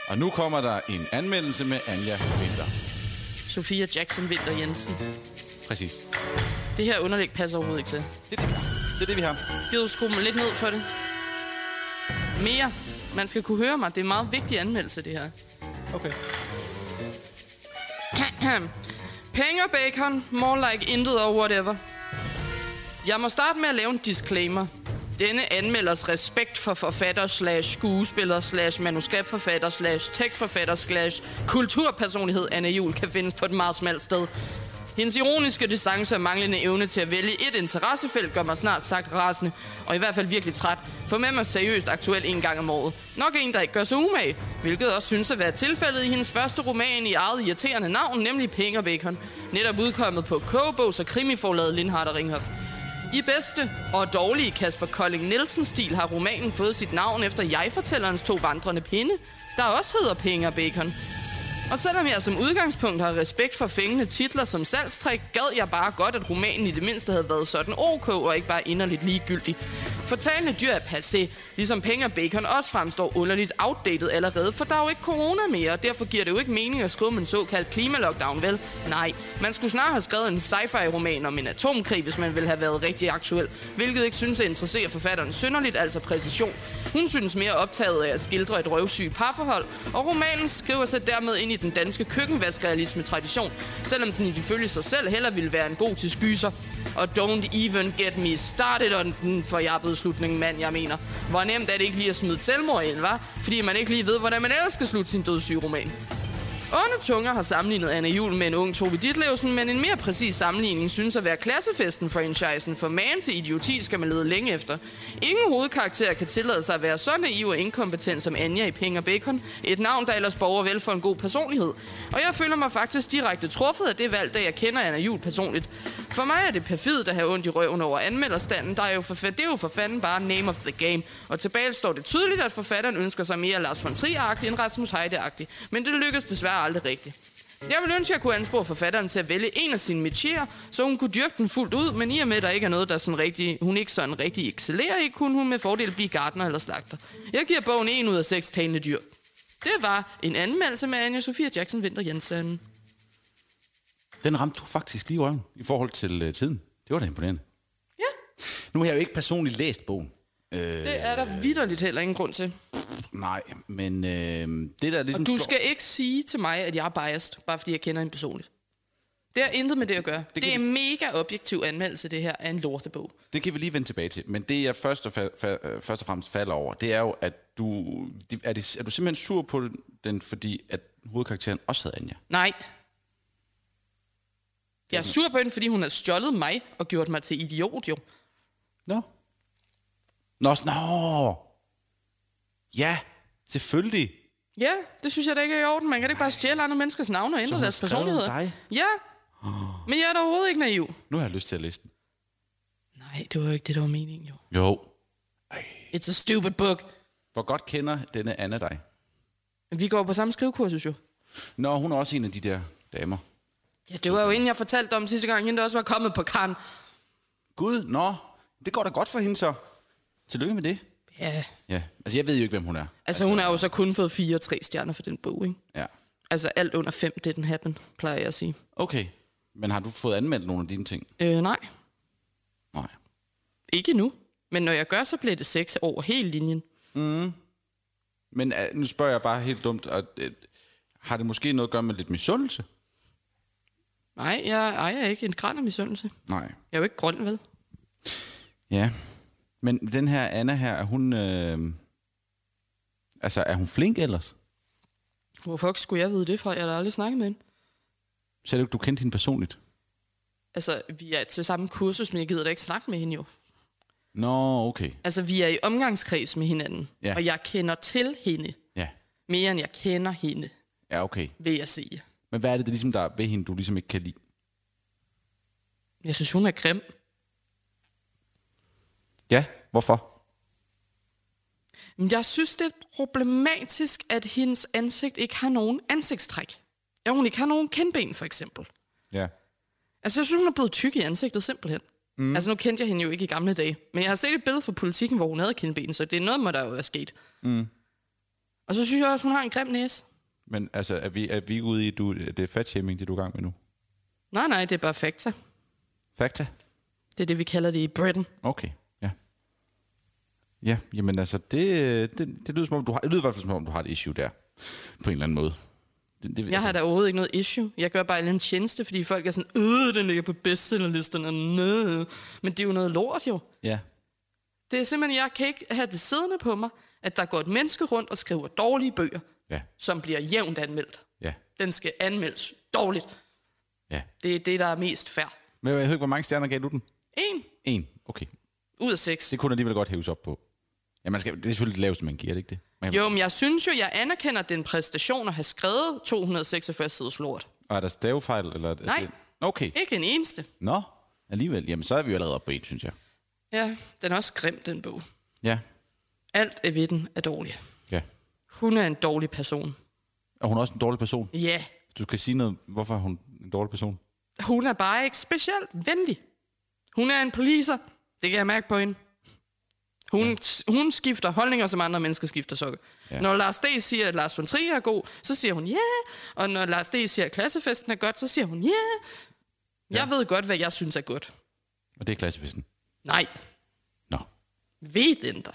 S1: Og nu kommer der en anmeldelse med Anja Vinter.
S3: Sofia Jackson Winter Jensen.
S1: Præcis.
S3: Det her underlæg passer overhovedet ikke til.
S1: Det er det, vi har. Det er det, vi har.
S3: Giv skrue mig lidt ned for det. Mere. Man skal kunne høre mig. Det er en meget vigtig anmeldelse, det her.
S1: Okay.
S3: Penge og bacon, more like intet og whatever. Jeg må starte med at lave en disclaimer. Denne anmelders respekt for forfatter slash skuespiller slash manuskriptforfatter slash tekstforfatter slash kulturpersonlighed Anne Jul kan findes på et meget smalt sted. Hendes ironiske distance og manglende evne til at vælge et interessefelt gør mig snart sagt rasende, og i hvert fald virkelig træt. For med mig seriøst aktuel en gang om året. Nok en, der ikke gør sig umage, hvilket også synes at være tilfældet i hendes første roman i eget irriterende navn, nemlig Penge og Bacon. Netop udkommet på Kogebogs og krimiforlaget Lindhardt og Ringhof. I bedste og dårlige Kasper Kolding Nielsen-stil har romanen fået sit navn efter jeg-fortællerens to vandrende pinde, der også hedder Penge og Bacon. Og selvom jeg som udgangspunkt har respekt for fængende titler som salgstrik, gad jeg bare godt, at romanen i det mindste havde været sådan ok og ikke bare inderligt ligegyldig. For talende dyr er passé, ligesom penge og bacon også fremstår underligt outdated allerede, for der er jo ikke corona mere, og derfor giver det jo ikke mening at skrive om en såkaldt klimalockdown, vel? Nej, man skulle snart have skrevet en sci-fi-roman om en atomkrig, hvis man ville have været rigtig aktuel, hvilket ikke synes at interessere forfatteren synderligt, altså præcision. Hun synes mere optaget af at skildre et røvsygt parforhold, og romanen skriver sig dermed ind i den danske køkkenvaskerealisme-tradition, selvom den ifølge sig selv heller ville være en god til skyser. Og don't even get me started on den, for jeg er blevet slutningen mand, jeg mener. Hvor nemt er det ikke lige at smide selvmord ind, var? Fordi man ikke lige ved, hvordan man ellers skal slutte sin dødssyge roman. Onde tunger har sammenlignet Anne Jul med en ung Tove Ditlevsen, men en mere præcis sammenligning synes at være klassefesten-franchisen, for man til idioti skal man lede længe efter. Ingen hovedkarakter kan tillade sig at være så naiv og inkompetent som Anja i Penge og Bacon, et navn, der ellers borger vel for en god personlighed. Og jeg føler mig faktisk direkte truffet af det valg, da jeg kender Anna Jul personligt. For mig er det perfidt at have ondt i røven over anmelderstanden, der er jo for, fa- det er jo for fanden bare name of the game. Og tilbage står det tydeligt, at forfatteren ønsker sig mere Lars von Trier-agtig end Rasmus Heide-agtig, men det lykkes desværre aldrig rigtigt. Jeg ville ønske, at jeg kunne anspore forfatteren til at vælge en af sine metier, så hun kunne dyrke den fuldt ud, men i og med, at der ikke er noget, der sådan rigtig, hun ikke sådan rigtig excellerer i, kunne hun med fordel blive gartner eller slagter. Jeg giver bogen en ud af seks talende dyr. Det var en anmeldelse med Anja Sofia Jackson Winter Jensen.
S1: Den ramte du faktisk lige i røven i forhold til øh, tiden. Det var da imponerende.
S3: Ja,
S1: Nu har jeg jo ikke personligt læst bogen.
S3: det er der vidderligt heller ingen grund til.
S1: Nej, men øh, det der ligesom
S3: Du
S1: står-
S3: skal ikke sige til mig, at jeg er biased, bare fordi jeg kender en personligt. Det har intet med det at gøre. Det, det er en mega objektiv anmeldelse, det her, af en lortebog.
S1: Det kan vi lige vende tilbage til. Men det, jeg først og, fa- fa- øh, først og fremmest falder over, det er jo, at du... det- Er, det, er du simpelthen sur på den, fordi at hovedkarakteren også havde Anja?
S3: Nej. Jeg er sur på hende, fordi hun har stjålet mig og gjort mig til idiot, jo.
S1: Nå. Nå, s- nå. Ja, selvfølgelig.
S3: Ja, det synes jeg da ikke er i orden. Man kan da ikke bare stjæle andre menneskers navne og ændre
S1: hun
S3: deres
S1: har skrevet om
S3: personligheder.
S1: dig?
S3: Ja, men jeg er da overhovedet ikke naiv.
S1: Nu har jeg lyst til at læse den.
S3: Nej, det var jo ikke det, der var meningen, jo.
S1: Jo.
S3: It's a stupid book.
S1: Hvor godt kender denne Anna dig?
S3: Vi går på samme skrivekursus, jo.
S1: Nå, hun er også en af de der damer.
S3: Ja, det var jo inden jeg fortalte om sidste gang, hende der også var kommet på kan.
S1: Gud, nå. Det går da godt for hende så. Tillykke med det.
S3: Ja,
S1: Ja, altså jeg ved jo ikke, hvem hun er.
S3: altså hun har jo så kun fået fire og tre stjerner for den bog, ikke?
S1: Ja.
S3: Altså alt under fem, det den happen, plejer jeg at sige.
S1: Okay. Men har du fået anmeldt nogle af dine ting?
S3: Øh, nej,
S1: Nej.
S3: ikke nu. Men når jeg gør, så bliver det seks over hele linjen.
S1: Men uh, nu spørger jeg bare helt dumt, og, uh, har det måske noget at gøre med lidt misundelse?
S3: Nej, jeg ejer ikke en græn af misundelse.
S1: Nej.
S3: Jeg er jo ikke grøn, vel?
S1: Ja. Men den her Anna her, er hun... Øh, altså, er hun flink ellers?
S3: Hvorfor skulle jeg vide det fra? Jeg har da aldrig snakket med hende.
S1: Så er det jo ikke, du kendte hende personligt.
S3: Altså, vi er til samme kursus, men jeg gider da ikke snakke med hende jo.
S1: Nå, okay.
S3: Altså, vi er i omgangskreds med hinanden,
S1: Ja.
S3: og jeg kender til hende
S1: Ja.
S3: mere, end jeg kender hende,
S1: Ja, okay.
S3: vil jeg sige.
S1: Men hvad er det, der ligesom der er ved hende, du ligesom ikke kan lide?
S3: Jeg synes, hun er grim.
S1: Ja, hvorfor?
S3: Men Jeg synes, det er problematisk, at hendes ansigt ikke har nogen ansigtstræk. At hun ikke har nogen kendben, for eksempel.
S1: Ja.
S3: Altså, jeg synes, hun er blevet tyk i ansigtet, simpelthen. Mm. Altså, nu kendte jeg hende jo ikke i gamle dage. Men jeg har set et billede fra politikken, hvor hun havde kindben, så det er noget, må der jo være sket. Mm. Og så synes jeg også, hun har en grim næse.
S5: Men altså, er vi, er vi ikke ude i, du, det er fatshaming, det du er i gang med nu?
S3: Nej, nej, det er bare fakta.
S5: Fakta?
S3: Det er det, vi kalder det i Britain.
S5: Okay, ja. Ja, jamen altså, det, det, det lyder som om, du har, det lyder i hvert fald som om, du har et issue der, på en eller anden måde. Det, det, altså,
S3: Jeg har da overhovedet ikke noget issue. Jeg gør bare alle en tjeneste, fordi folk er sådan, øh, den ligger på bestsellerlisterne. Næh. Men det er jo noget lort jo.
S5: Ja.
S3: Det er simpelthen, jeg kan ikke have det siddende på mig, at der går et menneske rundt og skriver dårlige bøger,
S5: Ja,
S3: som bliver jævnt anmeldt.
S5: ja,
S3: Den skal anmeldes dårligt.
S5: ja.
S3: Det er det, der er mest fair.
S5: Men jeg hørte, ikke, hvor mange stjerner gav du den?
S3: En
S5: En. Okay.
S3: ud af seks.
S5: Det kunne alligevel godt hæves op på. Ja, man skal, det er selvfølgelig det laveste, man giver, er det ikke det? Man,
S3: Jo, men jeg synes jo, jeg anerkender at det er en præstation at have skrevet 246 siders lort.
S5: Og er der stavefejl? Eller, er
S3: Nej.
S5: Det, okay.
S3: Ikke en eneste.
S5: Nå, alligevel. Jamen, så er vi jo allerede oppe på en, synes jeg.
S3: Ja, den er også grim, den bog.
S5: Ja.
S3: Alt er ved den er dårlig.
S5: Ja.
S3: Hun er en dårlig person.
S5: Og hun er også en dårlig person.
S3: Ja,
S5: Du kan sige noget, hvorfor er hun en dårlig person?
S3: hun er bare ikke specielt venlig. Hun er en poliser. Det kan jeg mærke på hende. Hun, ja. hun skifter holdninger, som andre mennesker skifter sukker. Ja. Når Lars D. siger, at Lars von Trier er god, så siger hun ja. Yeah. Og når Lars D. siger, at klassefesten er godt, så siger hun ja. Yeah. Ja. Jeg ved godt, hvad jeg synes er godt.
S5: Og det er klassefesten.
S3: Nej,
S5: Nå.
S3: ved den der.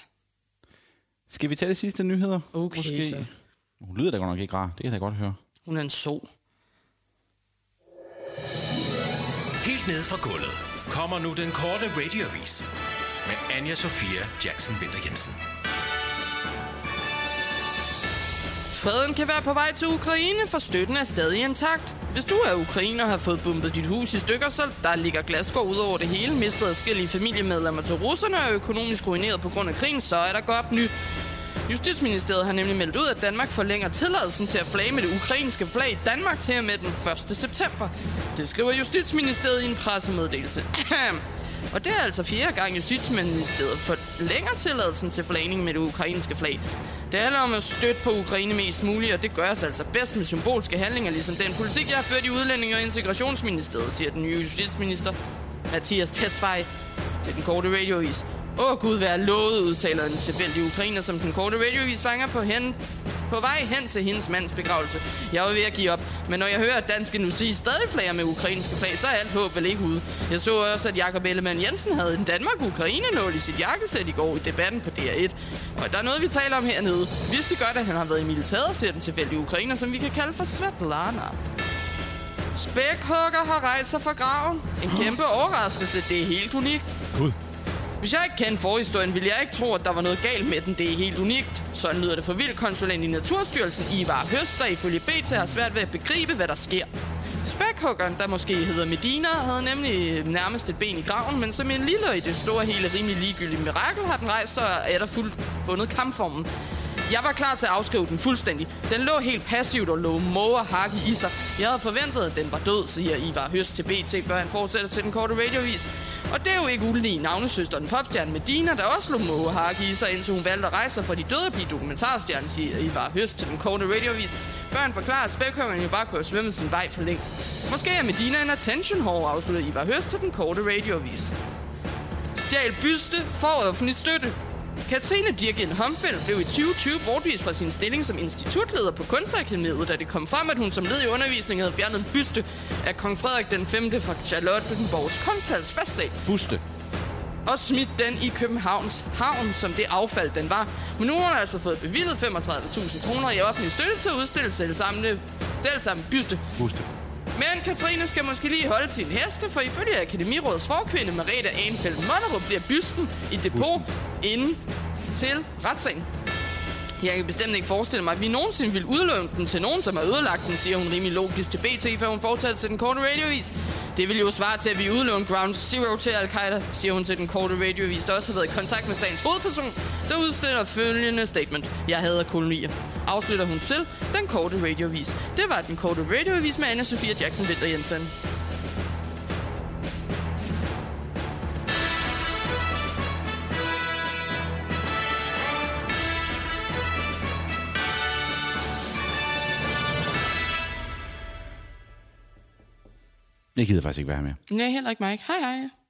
S5: Skal vi tage de sidste nyheder?
S3: Okay, så.
S5: Hun lyder da godt nok ikke rar. Det kan jeg da godt høre.
S3: Hun er en so.
S4: Helt ned fra gulvet kommer nu den korte radiovis med Anja Sofia Jackson Vinter Jensen.
S3: Freden kan være på vej til Ukraine, for støtten er stadig intakt. Hvis du er ukrainer og har fået bumpet dit hus i stykker, så der ligger glasgård ud over det hele, mistet forskellige familiemedlemmer til russerne og er økonomisk ruineret på grund af krigen, så er der godt nyt. Justitsministeriet har nemlig meldt ud, at Danmark forlænger tilladelsen til at flage med det ukrainske flag i Danmark til og med den 1. september. Det skriver Justitsministeriet i en pressemeddelelse. Og det er altså fjerde gang Justitsministeriet forlænger tilladelsen til flagning med det ukrainske flag. Det handler om at støtte på Ukraine mest muligt, og det gøres altså bedst med symbolske handlinger, ligesom den politik, jeg har ført i Udlændinge- og Integrationsministeriet, siger den nye justitsminister Mathias Tesfaye til den korte radiovis. Åh oh, gud, vær lovet, udtaler en tilfældig ukrainer, som den korte radiovis fanger på, hen, på vej hen til hendes mands begravelse. Jeg var ved at give op, men når jeg hører, at dansk industri stadig flager med ukrainske flag, så er alt håb vel ikke ude. Jeg så også, at Jakob Ellemann Jensen havde en Danmark-Ukraine-nål i sit jakkesæt i går i debatten på DR1. Og der er noget, vi taler om hernede. Vidste godt, at han har været i militæret, siger den tilfældige ukrainer, som vi kan kalde for Svetlana. Spækhugger har rejst sig fra graven. En kæmpe overraskelse. Det er helt unikt. Hvis jeg ikke kendte forhistorien, ville jeg ikke tro, at der var noget galt med den. Det er helt unikt. Sådan lyder det for vildkonsulent i Naturstyrelsen, Ivar Høst, der ifølge BT har svært ved at begribe, hvad der sker. Spækhuggeren, der måske hedder Medina, havde nemlig nærmest et ben i graven, men som en lille og i det store hele rimelig ligegyldig mirakel har den rejst, så er der fuldt fundet kampformen. Jeg var klar til at afskrive den fuldstændig. Den lå helt passivt og lå måger hakke i sig. Jeg havde forventet, at den var død, siger Ivar Høst til BT, før han fortsætter til den korte radiovis. Og det er jo ikke ulige navnesøsteren popstjernen Medina, der også lå måger hakke i sig, indtil hun valgte at rejse sig fra de døde og blive dokumentarstjerne, siger Ivar Høst til den korte radiovis. Før han forklarer, at spækhøveren jo bare kunne have svømmet sin vej for længst. Måske er Medina en attention whore, afslutter Ivar Høst til den korte radiovis stjal byste for offentlig støtte. Katrine Dirken Homfeldt blev i 2020 bortvist fra sin stilling som institutleder på Kunstakademiet, da det kom frem, at hun som led i undervisningen havde fjernet en byste af kong Frederik den 5. fra Charlottenborgs kunsthals fastsag
S5: Buste.
S3: og smidt den i Københavns havn, som det affald, den var. Men nu har hun altså fået bevillet 35.000 kroner i offentlig støtte til at udstille selv samme, selv samme byste.
S5: Buste.
S3: Men Katrine skal måske lige holde sin heste, for ifølge Akademirådets forkvinde Merete Anfeldt Monnerup bliver bysten i depot inden til retssagen. Jeg kan bestemt ikke forestille mig, at vi nogensinde vil udlåne den til nogen, som har ødelagt den, siger hun rimelig logisk til BT, før hun fortsætter til den korte radiovis. Det vil jo svare til, at vi udlåner Ground Zero til Al-Qaida, siger hun til den korte radiovis, der også har været i kontakt med sagens hovedperson, der udstiller følgende statement. Jeg hader kolonier. Afslutter hun til den korte radiovis. Det var den korte radiovis med anne Sofia Jackson Vinter Jensen.
S5: Jeg gider faktisk ikke være her mere.
S3: Nej, heller ikke Mike. Hej hej.